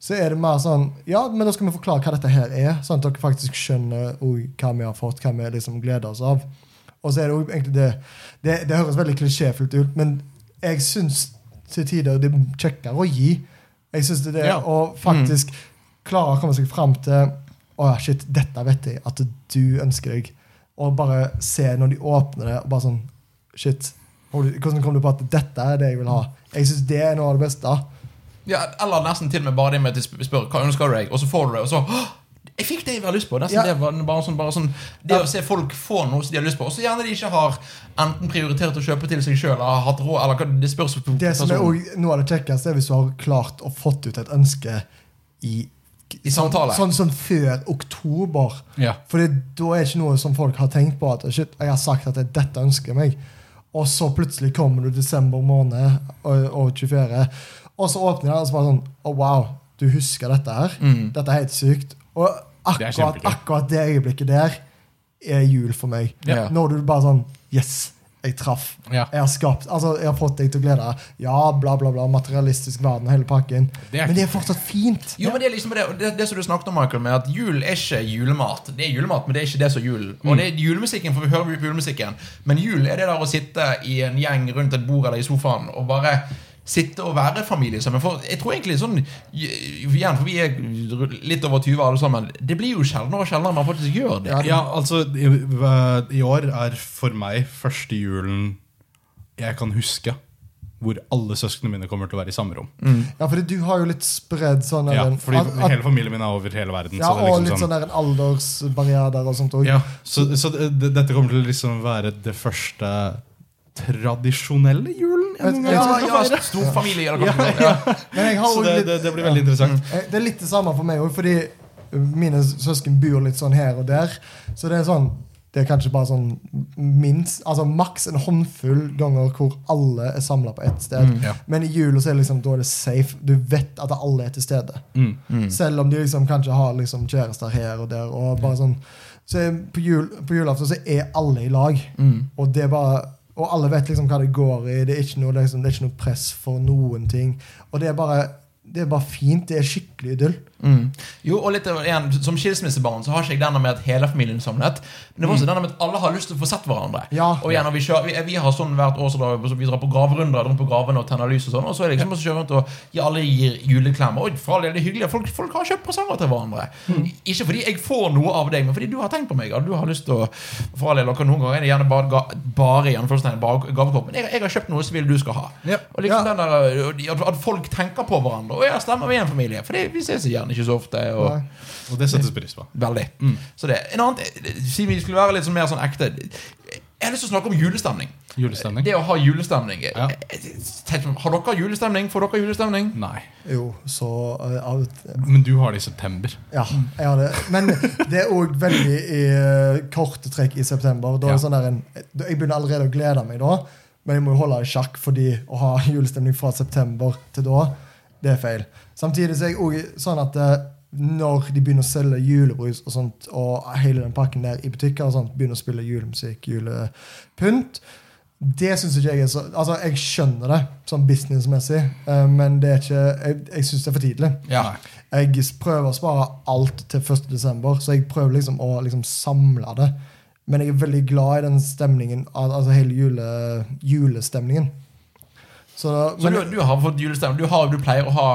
[SPEAKER 3] så er det mer sånn Ja, men da skal vi forklare hva dette her er, sånn at dere faktisk skjønner og, hva vi har fått, hva vi liksom gleder oss av. Og så er det jo egentlig det Det, det høres veldig klisjéfullt ut, men jeg syns til tider det er kjekkere å gi. Jeg syns det er det
[SPEAKER 2] Ja.
[SPEAKER 3] å faktisk klare å komme seg fram til Å ja, shit, dette vet jeg at du ønsker deg. Og bare se når de åpner det, og bare sånn Shit. holy- Hvordan kom du på at dette er det jeg vil ha? Jeg syns det er noe av det beste.
[SPEAKER 1] ja. Eller nesten til og med bare det med at de sp- spør hva ønsker du deg, og så får du det, og så «Åh, jeg fikk det jeg hadde lyst på. Nesten
[SPEAKER 3] Ja.
[SPEAKER 1] Det var bare sånn, bare sånn Det
[SPEAKER 3] Ja.
[SPEAKER 1] å se folk få noe som de har lyst på, og så gjerne de ikke har enten prioritert å kjøpe til seg sjøl eller har hatt råd eller hva- Det spørs på
[SPEAKER 3] Det som er
[SPEAKER 1] personen.
[SPEAKER 3] også noe av det kjekkeste, er hvis du har klart å fått ut et ønske i,
[SPEAKER 1] I samtale.
[SPEAKER 3] Sånn, sånn før oktober.
[SPEAKER 2] Ja.
[SPEAKER 3] For da er ikke noe som folk har tenkt på. At shit, jeg har sagt at jeg, dette ønsker jeg meg. Og så plutselig kommer du desember måned og, og 24. Og så åpner jeg og så bare sånn Å, wow, du husker dette her? Dette er helt sykt. Og
[SPEAKER 2] Det er kjempegøy.
[SPEAKER 3] akkurat det, akkurat det øyeblikket der er jul for meg.
[SPEAKER 1] Ja.
[SPEAKER 3] Når du bare sånn Yes, jeg traff.
[SPEAKER 2] Ja.
[SPEAKER 3] Jeg har skapt, altså jeg har fått deg til å glede deg. Ja, bla, bla, bla. Materialistisk verden og hele pakken.
[SPEAKER 2] Det er
[SPEAKER 3] Men det er fortsatt fint.
[SPEAKER 1] Jo, men Det er liksom det, og det, det som du snakket om, Michael, med at jul er ikke julemat. Det er julemat, men det er ikke det som er julen. Og det er julemusikken, for vi hører jo julemusikken. Men jul er det der å sitte i en gjeng rundt et bord eller i sofaen og bare sitte og være familie sammen. For jeg tror egentlig sånn Igjen, for vi er litt over 20 alle sammen. Det blir jo sjeldnere og sjeldnere man faktisk gjør det.
[SPEAKER 3] Ja,
[SPEAKER 2] Ja, altså i, I år er for meg første julen jeg kan huske hvor alle søsknene mine kommer til å være i samme rom.
[SPEAKER 3] Ja, fordi du har jo litt spredd sånn
[SPEAKER 2] Ja,
[SPEAKER 3] den-
[SPEAKER 2] fordi
[SPEAKER 3] Mm. at- at-
[SPEAKER 2] hele familien min er over hele verden.
[SPEAKER 3] ja,
[SPEAKER 2] så det er
[SPEAKER 3] og
[SPEAKER 2] liksom
[SPEAKER 3] litt
[SPEAKER 2] sånn,
[SPEAKER 3] sånn der en aldersbarriere der og sånt òg.
[SPEAKER 2] Ja, så, så det, det- dette kommer til å liksom være det første tradisjonelle julen jeg noen gang
[SPEAKER 1] Ja, sånn
[SPEAKER 3] Ja,
[SPEAKER 2] skal
[SPEAKER 1] ja,
[SPEAKER 2] feire.
[SPEAKER 1] Storfamilie, eller hva det er.
[SPEAKER 3] Men jeg har
[SPEAKER 2] Så
[SPEAKER 3] også
[SPEAKER 2] det,
[SPEAKER 3] litt,
[SPEAKER 2] det, det blir veldig interessant.
[SPEAKER 3] Eh, Det er litt det samme for meg òg, fordi mine søsken bor litt sånn her og der. Så det er sånn det er kanskje bare sånn minst, altså maks en håndfull ganger hvor alle er samla på ett sted.
[SPEAKER 2] ja.
[SPEAKER 3] Men i jula så er det liksom, da er det safe. Du vet at alle er til stede. Selv om de liksom kanskje har liksom kjærester her og der. og bare sånn så er, På, jul, på julaften så er alle i lag. Og det er bare og alle vet liksom hva det går i. Det er ikke noe, liksom, det er ikke noe press for noen ting. Og det er bare, det er bare fint. Det er skikkelig idyll.
[SPEAKER 1] Mm. Jo, og litt av- igjen, Som skilsmissebarn så har ikke jeg denne med at hele familien er samlet. Men det var også denne med at alle har lyst til å få sett hverandre.
[SPEAKER 3] Ja.
[SPEAKER 1] Og igjen, og vi, kjører, vi, vi har sånn hvert år så da, så vi drar på gravrunder rundt på gravene og tenner lys og sånn. Og så er det liksom å kjøre rundt og gi alle gir juleklemmer. Og for all del, det er hyggelig. Folk, folk har kjøpt presanger til hverandre. Ikke fordi jeg får noe av deg, men fordi du har tenkt på meg. Og du har lyst til å For all del, og noen ganger er det gjerne bare, ga- bare, i anførselstegn, bare gavekort. Men jeg, jeg har kjøpt noe som vil du skal ha.
[SPEAKER 2] Ja.
[SPEAKER 1] Og liksom
[SPEAKER 3] Ja.
[SPEAKER 1] den der, og de- at, at folk tenker på hverandre. Og ja, stemmer vi er en familie? For det- vi ses gjerne ikke så ofte. Og,
[SPEAKER 3] Nei. Mm.
[SPEAKER 2] Og det settes pris på.
[SPEAKER 1] Veldig. Så det, en annen, siden vi skulle være litt sånn mer sånn ekte Jeg har lyst til å snakke om julestemning.
[SPEAKER 2] Julestemning?
[SPEAKER 1] Det å ha julestemning
[SPEAKER 2] Ja.
[SPEAKER 1] Jeg- jeg- tenk om- Har dere julestemning? Får dere julestemning?
[SPEAKER 2] Nei.
[SPEAKER 3] Jo, så eh, out.
[SPEAKER 2] Men du har det i september.
[SPEAKER 3] Ja, jeg har det. Men det er òg veldig i eh, korte trekk i september. Da er det
[SPEAKER 2] Ja.
[SPEAKER 3] sånn der en, jeg begynner allerede å glede meg da, men jeg må jo holde i sjakk fordi å ha julestemning fra september til da, det er feil. Samtidig så er jeg òg sånn at eh, når de begynner å selge julebrus og sånt, og hele den pakken der i butikker, og sånt, begynner å spille julemusikk, julepynt det syns ikke jeg er så Altså, jeg skjønner det sånn businessmessig, eh, men det er ikke Jeg, jeg syns det er for tidlig.
[SPEAKER 1] Ja.
[SPEAKER 3] Jeg prøver å spare alt til 1. desember, så jeg prøver liksom å liksom samle det. Men jeg er veldig glad i den stemningen, al- altså hele jule, julestemningen. Så,
[SPEAKER 1] Så
[SPEAKER 3] men,
[SPEAKER 1] du, du har fått julestemning? Du, har, du pleier å ha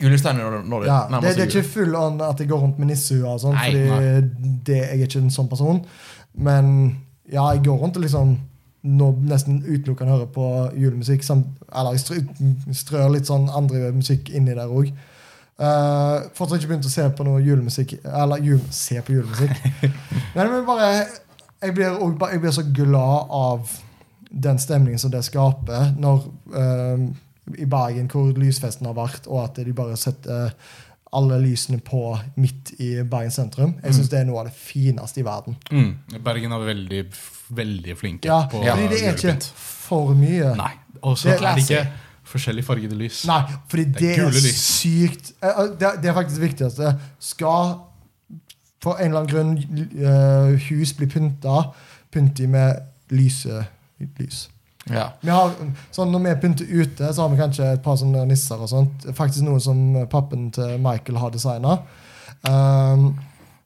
[SPEAKER 1] julestemning når, når det
[SPEAKER 3] ja,
[SPEAKER 1] nærmer
[SPEAKER 3] det,
[SPEAKER 1] seg
[SPEAKER 3] det er
[SPEAKER 1] jul?
[SPEAKER 3] ikke full on at jeg går rundt med nissehua og sånn,
[SPEAKER 1] Nei,
[SPEAKER 3] fordi det, jeg er ikke en sånn person. Men ja, jeg går rundt og liksom nå nesten utelukkende hører på julemusikk. samt- Eller jeg strø- strør litt sånn andre musikk inni der òg. fortsatt ikke begynt å se på noe julemusikk Eller jul, se på julemusikk. Nei, men bare jeg blir, og, ba- jeg blir så glad av den stemningen som det skaper når eh, I Bergen, hvor lysfesten har vært, og at de bare setter alle lysene på midt i Bergen sentrum. Jeg
[SPEAKER 2] Mm.
[SPEAKER 3] syns det er noe av det fineste i verden.
[SPEAKER 2] Bergen er veldig, veldig flinke
[SPEAKER 3] Ja,
[SPEAKER 2] på
[SPEAKER 3] fordi det er ikke
[SPEAKER 2] julepynt.
[SPEAKER 3] for mye.
[SPEAKER 2] Nei. Og så
[SPEAKER 3] Det er
[SPEAKER 2] er det ikke
[SPEAKER 3] classy.
[SPEAKER 2] forskjellig fargede lys.
[SPEAKER 3] Nei, fordi
[SPEAKER 2] Det er
[SPEAKER 3] det er,
[SPEAKER 2] gule lys.
[SPEAKER 3] sykt eh, eh, det, er- det er faktisk det viktigste. Skal for en eller annen grunn eh, hus bli pynta, pynter de med lyse lys.
[SPEAKER 1] Ja.
[SPEAKER 3] Vi har, sånn, når vi pynter ute, så har vi kanskje et par sånne nisser og sånt. Faktisk noe som pappen til Michael har designa.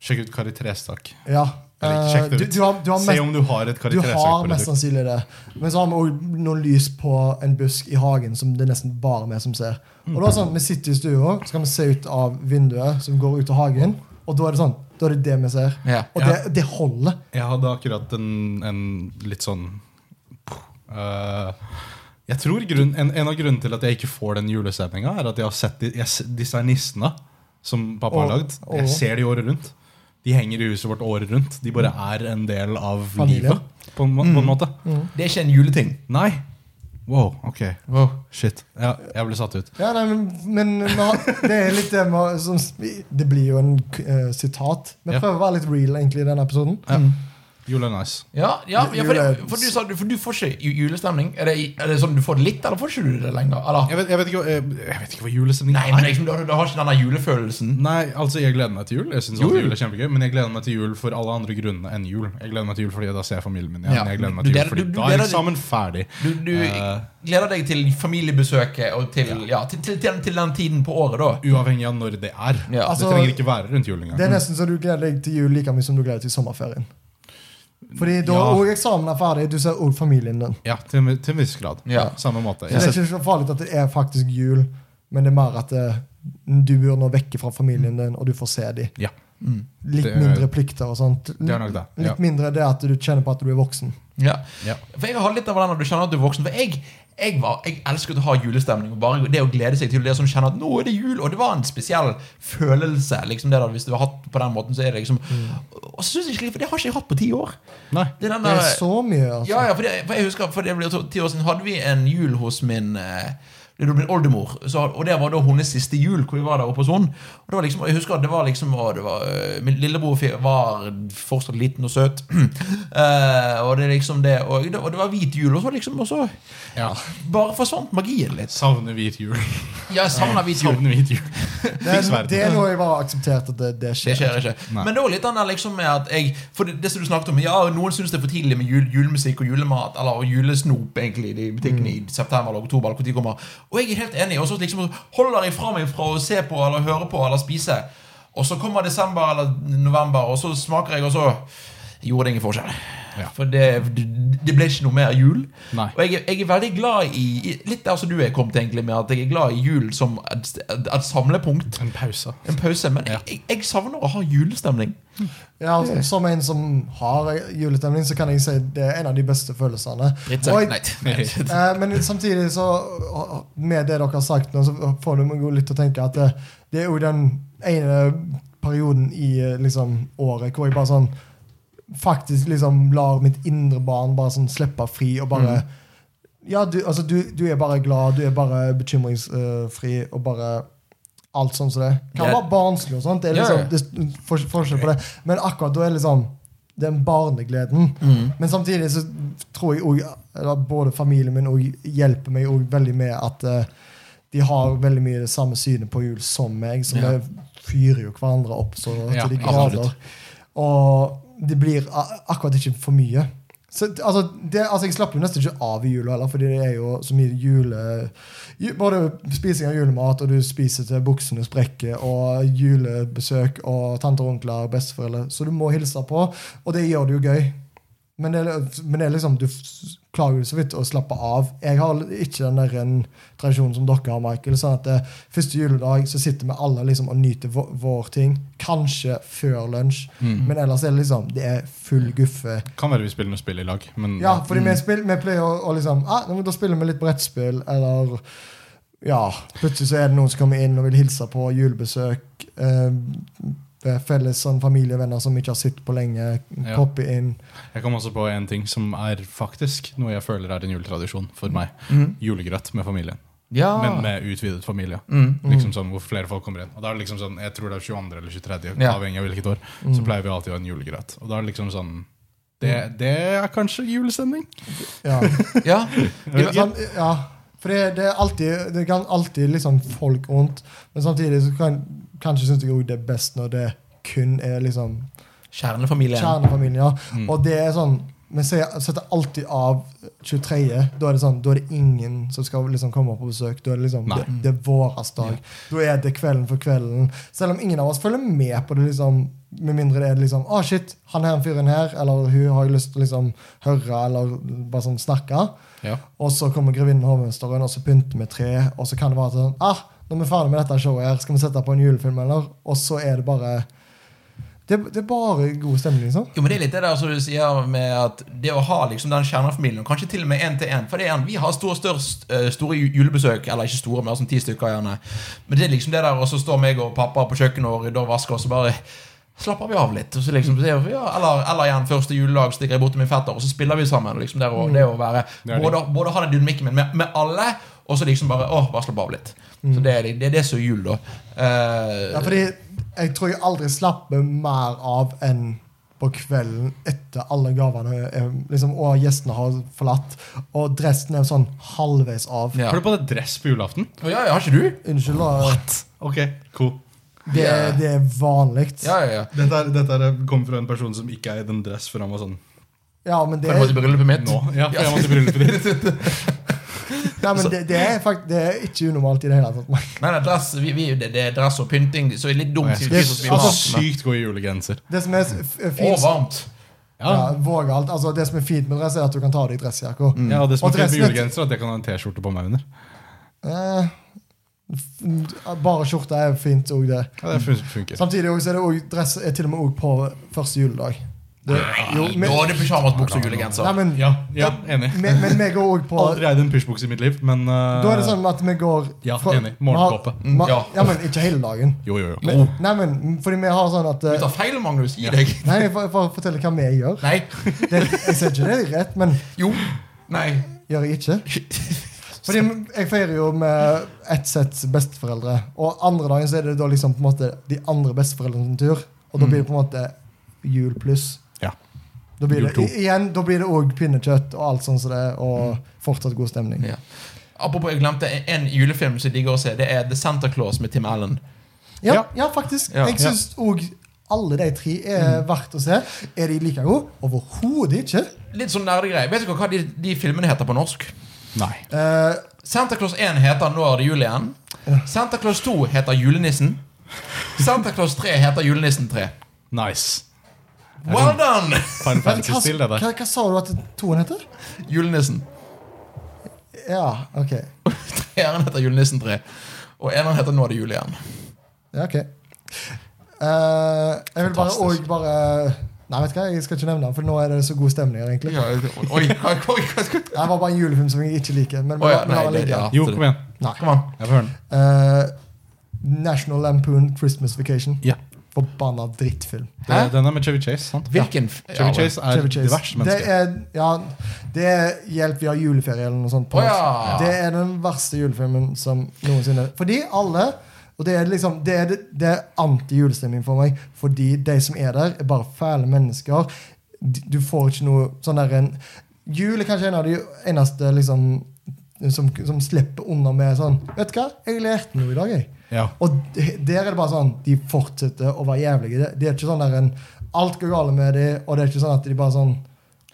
[SPEAKER 2] Sjekk ut Kari Trestak.
[SPEAKER 3] ja.
[SPEAKER 2] Eller ikke sjekk det
[SPEAKER 3] Eh, du,
[SPEAKER 2] ut.
[SPEAKER 3] du har, du har,
[SPEAKER 2] Se
[SPEAKER 3] mest,
[SPEAKER 2] om du har et Kari
[SPEAKER 3] du har mest
[SPEAKER 2] Trestak-produkt.
[SPEAKER 3] sannsynlig det. Men så har vi også noen lys på en busk i hagen som det er nesten bare vi som ser. Og da er det sånn, Vi sitter i stua, så kan vi se ut av vinduet som går ut av hagen. Og da er det sånn, da er det det vi ser.
[SPEAKER 1] Ja.
[SPEAKER 3] Og det, det holder.
[SPEAKER 2] Jeg hadde akkurat en, en litt sånn øh, Jeg tror grunn, en, en av grunnene til at jeg ikke får den julestemninga, er at jeg har sett de, jeg, s- disse nissene som pappa har
[SPEAKER 3] Åh,
[SPEAKER 2] lagd.
[SPEAKER 3] åh.
[SPEAKER 2] Jeg ser de året rundt. De henger i huset vårt året rundt. De bare
[SPEAKER 3] Mm.
[SPEAKER 2] er en del av
[SPEAKER 3] Familie.
[SPEAKER 2] livet, på en, må- på en
[SPEAKER 3] Mm.
[SPEAKER 2] måte.
[SPEAKER 1] Det er ikke en juleting.
[SPEAKER 2] Nei. Wow, ok.
[SPEAKER 1] Wow.
[SPEAKER 2] Shit. Ja, jeg ble satt ut.
[SPEAKER 3] Ja, nei, men, men vi har- det er litt det med, som, Det blir jo en eh, sitat. Vi
[SPEAKER 2] Ja.
[SPEAKER 3] prøver å være litt real egentlig i denne episoden.
[SPEAKER 2] Ja. Jul er nice.
[SPEAKER 1] Ja, ja, ja for,
[SPEAKER 3] Jule-
[SPEAKER 1] det, for, du sa, du- for du får ikke ju- julestemning. Er det, er det sånn du får det litt, eller får ikke du det lenger? Eller?
[SPEAKER 2] Jeg vet, jeg vet, ikke, hva- eh, jeg vet ikke hva julestemning
[SPEAKER 1] Nei, men liksom, du, har- du har ikke den der julefølelsen.
[SPEAKER 2] Nei, altså jeg gleder meg til jul. Jeg synes
[SPEAKER 1] Jul?
[SPEAKER 2] alltid jul er kjempegøy Men jeg gleder meg til jul for alle andre grunner enn jul. Jeg gleder meg til jul fordi da ser jeg familien min igjen.
[SPEAKER 1] Ja.
[SPEAKER 2] Jeg gleder meg
[SPEAKER 1] Du
[SPEAKER 2] til jul
[SPEAKER 1] gleder-
[SPEAKER 2] fordi
[SPEAKER 1] du- du
[SPEAKER 2] Da er
[SPEAKER 1] gleder deg-
[SPEAKER 2] eksamen ferdig.
[SPEAKER 1] Du, du
[SPEAKER 2] Eh.
[SPEAKER 1] gleder deg til familiebesøket og til, ja, til, til, til, til den tiden på året, da.
[SPEAKER 2] Uavhengig av når det er.
[SPEAKER 1] Ja.
[SPEAKER 2] det
[SPEAKER 3] Altså-
[SPEAKER 2] trenger ikke være rundt jul engang.
[SPEAKER 3] Det er nesten så du gleder deg til jul like mye som du gleder deg til sommerferien. Fordi da
[SPEAKER 2] Ja.
[SPEAKER 3] og eksamen er ferdig, du ser også familien din.
[SPEAKER 2] Ja, til, en- til en viss grad.
[SPEAKER 1] Ja.
[SPEAKER 2] Samme måte. Jeg
[SPEAKER 3] Så det er
[SPEAKER 2] setter,
[SPEAKER 3] ikke så farlig at det er faktisk jul, men det er mer at det, du bør nå vekke fra familien din, og du får se dem.
[SPEAKER 2] ja,
[SPEAKER 3] Litt
[SPEAKER 2] Det er-
[SPEAKER 3] mindre plikter og sånt.
[SPEAKER 2] det er nok det. Ja.
[SPEAKER 3] Litt mindre det at du kjenner på at du er voksen.
[SPEAKER 1] Ja.
[SPEAKER 2] Ja.
[SPEAKER 1] For jeg har litt av den når du kjenner at du er voksen. For jeg, jeg, var, jeg elsket å ha julestemning. Og bare det å glede seg til det som kjenner at nå er det jul. Og det var en spesiell følelse. Liksom det der, hvis du har hatt på den måten, så er det liksom Og så synes jeg ikke, For det har ikke jeg hatt på ti år.
[SPEAKER 2] Nei.
[SPEAKER 1] Det er den
[SPEAKER 3] Det
[SPEAKER 1] der,
[SPEAKER 3] er så mye, altså.
[SPEAKER 1] ja, ja, for, det, for jeg husker For det ble to- ti år siden hadde vi en jul hos min eh, det var min oldemor, så, og det var da hennes siste jul. Hvor vi var der oppe hos hun Og det var liksom, og jeg husker at det var liksom og det var, eh, Min lillebror fi- var fortsatt liten og søt. Eh, og det er liksom det og, det og det var hvit jul, og så liksom Og så
[SPEAKER 2] Ja.
[SPEAKER 1] bare forsvant magien litt. Eh,
[SPEAKER 2] Savner hvit jul.
[SPEAKER 1] Ja, jeg savner hvit jul.
[SPEAKER 2] Savner hvit jul.
[SPEAKER 3] Det
[SPEAKER 2] Fiks
[SPEAKER 3] er,
[SPEAKER 2] verden.
[SPEAKER 3] det er noe jeg bare har akseptert at det, det
[SPEAKER 1] Det
[SPEAKER 3] skjer.
[SPEAKER 1] skjer ikke.
[SPEAKER 2] Nei.
[SPEAKER 1] Men det var litt den der liksom med at jeg For det, det som du snakket om, ja, noen syns det er for tidlig med jul, julemusikk og julemat, eller og julesnop, egentlig, i butikkene
[SPEAKER 2] Mm.
[SPEAKER 1] i september eller oktober, eller hvor de kommer. Og jeg er helt enig, og så liksom holder jeg fra meg fra å se på eller høre på eller spise. Og så kommer desember eller november, og så smaker jeg, og så gjorde det ingen forskjell.
[SPEAKER 2] Ja.
[SPEAKER 1] For det, det ble ikke noe mer jul.
[SPEAKER 2] Nei.
[SPEAKER 1] Og jeg, er- jeg er veldig glad i i- Litt der som du er kommet, egentlig, med at jeg er glad i jul som et, et, et samlepunkt.
[SPEAKER 2] En pause.
[SPEAKER 1] En pause, men jeg, jeg, jeg savner å ha julestemning.
[SPEAKER 3] Ja, altså, som en som har julestemning, så kan jeg si det er en av de beste følelsene. Og jeg-
[SPEAKER 1] Nei.
[SPEAKER 3] Eh, men samtidig så Med det dere har sagt nå, så får det meg jo litt til å tenke at det, eh, det er jo den ene perioden i eh, liksom, året hvor jeg bare sånn faktisk liksom lar mitt indre barn bare sånn slippe fri og bare
[SPEAKER 1] Mm.
[SPEAKER 3] Ja, du, altså, du, du er bare glad, du er bare bekymringsfri og bare alt sånn som det. Kan
[SPEAKER 1] Ja.
[SPEAKER 3] være barnslig og sånt, det er
[SPEAKER 1] Ja, ja.
[SPEAKER 3] liksom det er st- for- forskjell på det. Men akkurat da er liksom den barnegleden. Men samtidig så tror jeg også, eller både familien min og hjelper meg også veldig med at eh, de har veldig mye det samme synet på jul som meg, så
[SPEAKER 1] Ja.
[SPEAKER 3] vi fyrer jo hverandre opp så
[SPEAKER 2] Ja,
[SPEAKER 3] til de
[SPEAKER 1] absolutt.
[SPEAKER 3] grader. Og det blir a- akkurat ikke for mye. Så, altså, det, altså, jeg slapper jo nesten ikke av i jula heller, fordi det er jo så mye jule... ju- Både spising av julemat, og du spiser til buksene sprekker, og julebesøk og tanter og onkler og besteforeldre. Så du må hilse på, og det gjør det jo gøy. Men det, er- men det er liksom, du f- klarer jo så vidt å slappe av. Jeg har ikke den der en tradisjonen som dere har, Michael. sånn at det, Første juledag så sitter vi alle liksom og nyter vår, vår ting. Kanskje før lunsj, men ellers er det liksom det er full guffe.
[SPEAKER 2] Kan være vi spiller noe spill i lag, men eh,
[SPEAKER 3] Ja, fordi vi, spill, vi pleier å, å liksom ah, nå, Da spiller vi litt brettspill, eller Ja, plutselig så er det noen som kommer inn og vil hilse på julebesøk. Eh, felles sånn familievenner som vi ikke har sett på lenge,
[SPEAKER 2] Ja.
[SPEAKER 3] poppe inn.
[SPEAKER 2] jeg kom også på en ting som er faktisk noe jeg føler er en juletradisjon for meg. Julegrøt med familien.
[SPEAKER 1] Ja.
[SPEAKER 2] Men med utvidet familie. Liksom sånn Hvor flere folk kommer inn. Og da er det liksom sånn Jeg tror det er 22. eller 23.,
[SPEAKER 1] Ja.
[SPEAKER 2] avhengig av hvilket år. Så pleier vi alltid å ha en julegrøt. Og da er det liksom sånn Det, det er kanskje julestemning.
[SPEAKER 3] Ja.
[SPEAKER 1] ja.
[SPEAKER 3] Ja, sånn, ja. For det, det er alltid Det kan alltid liksom folk rundt, men samtidig så kan kanskje syns jeg også det er best når det kun er liksom
[SPEAKER 1] Kjernefamilien.
[SPEAKER 3] kjernefamilien. Ja. Og det er sånn Vi ser, setter alltid av 23. Da er det sånn Da er det ingen som skal liksom komme på besøk. Da er det liksom
[SPEAKER 2] Nei.
[SPEAKER 3] det, det er våres dag. Da er det kvelden for kvelden. Selv om ingen av oss følger med på det, liksom med mindre det er liksom Å, shit, han her fyren her, eller hun har jeg lyst til å liksom høre, eller bare sånn snakke.
[SPEAKER 2] Ja.
[SPEAKER 3] Og så kommer grevinnen og hovmesteren, og så pynter vi tre. Og så kan det være sånn ah, Når vi er ferdig med dette showet, her, skal vi sette på en julefilm, eller? Og så er det bare Det, det er bare god stemning, liksom.
[SPEAKER 1] Jo, men Det er litt det der som du sier med at det å ha liksom den kjernefamilien, og kanskje til og med én til én For det er en, vi har store, størst, eh, store ju- julebesøk, eller ikke store, mer som ti stykker gjerne. Men det er liksom det der, og så står meg og pappa på kjøkkenet og rydder og vasker, og så bare slapper vi av litt. Og så liksom, så er vi, ja, eller, eller igjen, første juledag stikker jeg bort til min fetter, og så spiller vi sammen. Liksom det, å- det å være,
[SPEAKER 2] Det er det.
[SPEAKER 1] både, både ha den dynamikken men med, med alle, og så liksom bare åh, bare slapp av litt. Så det er det, det er det som er jul, da. Eh,
[SPEAKER 3] Ja, fordi jeg tror jeg aldri slapper mer av enn på kvelden etter alle gavene er, liksom, og gjestene har forlatt. Og dressen er sånn halvveis av.
[SPEAKER 1] ja.
[SPEAKER 2] Har du på deg dress på julaften?
[SPEAKER 1] Å, ja, ja, har ikke du?
[SPEAKER 3] Unnskyld, da.
[SPEAKER 2] Ok, cool.
[SPEAKER 3] Det, er- det er vanlig.
[SPEAKER 1] Ja, ja, ja.
[SPEAKER 2] Dette, er, dette er, kommer fra en person som ikke er i den dress før han var sånn
[SPEAKER 3] Ja, men det
[SPEAKER 1] For jeg må
[SPEAKER 3] er
[SPEAKER 1] til bryllupet mitt.
[SPEAKER 2] nå. Ja, for jeg måtte i bryllupet ditt.
[SPEAKER 3] Nei, men det, det er fakt det er ikke unormalt i det hele tatt. Mike.
[SPEAKER 1] Nei, nei, dress, vi, vi, det, det er dress og pynting, så det er litt dumt.
[SPEAKER 2] Jeg
[SPEAKER 1] hvis vi
[SPEAKER 2] skal
[SPEAKER 1] spiser
[SPEAKER 2] så
[SPEAKER 1] maten, men-
[SPEAKER 2] sykt god i julegenser.
[SPEAKER 3] Det som er s- f-
[SPEAKER 1] Og
[SPEAKER 3] fint
[SPEAKER 1] varmt.
[SPEAKER 3] ja,
[SPEAKER 2] Ja, Mm.
[SPEAKER 3] vågalt. Altså, det som er fint med dress, er at du kan ta av deg dressjakka.
[SPEAKER 2] ja og det som
[SPEAKER 3] Mm.
[SPEAKER 2] er fint med
[SPEAKER 3] Og dressen-
[SPEAKER 2] julegenser, er at jeg kan ha en T-skjorte på meg under.
[SPEAKER 3] Eh, f- bare skjorte er fint òg, det.
[SPEAKER 2] Ja, det fun- funker.
[SPEAKER 3] Samtidig også er det også, dress er til og med òg på første juledag. Det, jo,
[SPEAKER 1] Nå
[SPEAKER 3] men,
[SPEAKER 1] er det pyjamas, bukse og julegenser.
[SPEAKER 3] nei, men,
[SPEAKER 2] Ja, ja enig.
[SPEAKER 3] men, men vi går òg på
[SPEAKER 2] Aldri eid en pushbukse i mitt liv, men eh,
[SPEAKER 3] Da er det sånn at vi går
[SPEAKER 2] Ja,
[SPEAKER 3] fra-
[SPEAKER 2] enig.
[SPEAKER 3] vi har-
[SPEAKER 2] Morgenkåpe. Oh.
[SPEAKER 3] ma-
[SPEAKER 1] Ja.
[SPEAKER 3] Ja, men ikke hele dagen.
[SPEAKER 2] Jo, jo, jo.
[SPEAKER 3] Men, Nei, men fordi vi har sånn at
[SPEAKER 1] Du
[SPEAKER 3] eh,
[SPEAKER 1] tar feil, Magnus. Gi deg.
[SPEAKER 3] Nei, jeg får, jeg får fortelle hva vi gjør.
[SPEAKER 1] Nei.
[SPEAKER 3] Det, jeg ser ikke det er rett, men
[SPEAKER 1] Jo. Nei.
[SPEAKER 3] gjør jeg ikke. Fordi jeg feirer jo med ett setts besteforeldre. Og andre dagen så er det da liksom på en måte de andre besteforeldrenes tur. Og da blir det på en måte jul pluss.
[SPEAKER 2] Ja.
[SPEAKER 3] Da blir det,
[SPEAKER 2] Jul to.
[SPEAKER 3] i- igjen, da blir det òg pinnekjøtt og alt sånt som det, er, og fortsatt god stemning.
[SPEAKER 1] Ja. Apropos, jeg glemte en julefilm som jeg digger å se. Det er The Santa Claus med Tim Allen.
[SPEAKER 3] Ja, ja faktisk.
[SPEAKER 1] Ja.
[SPEAKER 3] Jeg syns òg alle de tre er verdt å se. Er de like gode? Overhodet ikke.
[SPEAKER 1] Litt sånn nerdegreie. Vet dere hva de, de filmene heter på norsk?
[SPEAKER 2] Nei.
[SPEAKER 3] Eh,
[SPEAKER 1] Santa Claus 1 heter 'Nå er det jul igjen'. Santa Claus 2 heter 'Julenissen'. Santa Claus 3 heter 'Julenissen 3'.
[SPEAKER 2] Nice.
[SPEAKER 1] Well done!
[SPEAKER 2] Final
[SPEAKER 3] hva, hva,
[SPEAKER 2] Fantasy-stil, det der.
[SPEAKER 3] hva, hva sa du at toen heter?
[SPEAKER 1] Julenissen.
[SPEAKER 3] Ja, OK.
[SPEAKER 1] Treeren heter Julenissen 3. Og eneren heter 'Nå er det jul igjen'.
[SPEAKER 3] Ja, ok. Eh, jeg vil bare
[SPEAKER 2] Fantastisk.
[SPEAKER 3] òg bare Nei, vet du hva, jeg skal ikke nevne den, for nå er det så god stemning her, egentlig.
[SPEAKER 1] Ja, oi, hva, hva, hva, hva.
[SPEAKER 3] Det var bare en julefilm som jeg ikke liker. Men
[SPEAKER 1] Å ja,
[SPEAKER 3] la- la
[SPEAKER 1] nei,
[SPEAKER 3] den
[SPEAKER 1] det-
[SPEAKER 3] ligge.
[SPEAKER 1] ja.
[SPEAKER 2] Jo, kom igjen.
[SPEAKER 3] Nei.
[SPEAKER 1] Kom an.
[SPEAKER 2] Jeg får høre den.
[SPEAKER 3] Eh, National Lampoon Christmas Vacation.
[SPEAKER 2] Ja.
[SPEAKER 3] Forbanna drittfilm.
[SPEAKER 2] Det,
[SPEAKER 1] Hæ?
[SPEAKER 2] den er med Chevy Chase. sant?
[SPEAKER 1] Hvilken f-
[SPEAKER 2] Chevy
[SPEAKER 1] ja,
[SPEAKER 2] Chase er
[SPEAKER 3] Chevy Chase.
[SPEAKER 2] det verste
[SPEAKER 3] det
[SPEAKER 2] mennesket.
[SPEAKER 3] er, ja, det er Hjelp, vi har juleferie eller noe sånt. på
[SPEAKER 1] Å, ja.
[SPEAKER 3] oss. Det er den verste julefilmen som noensinne Fordi alle og Det er liksom, det er, det er anti-julestemning for meg, fordi de som er der, er bare fæle mennesker. D- Du får ikke noe sånn der en Jul er kanskje en av de eneste liksom, som, som slipper unna med sånn Vet du hva, jeg lærte noe i dag, jeg.
[SPEAKER 2] Ja.
[SPEAKER 3] Og de- der er det bare sånn De fortsetter å være jævlige. Det, det er ikke sånn der en, Alt går galt med dem, og det er ikke sånn at de bare sånn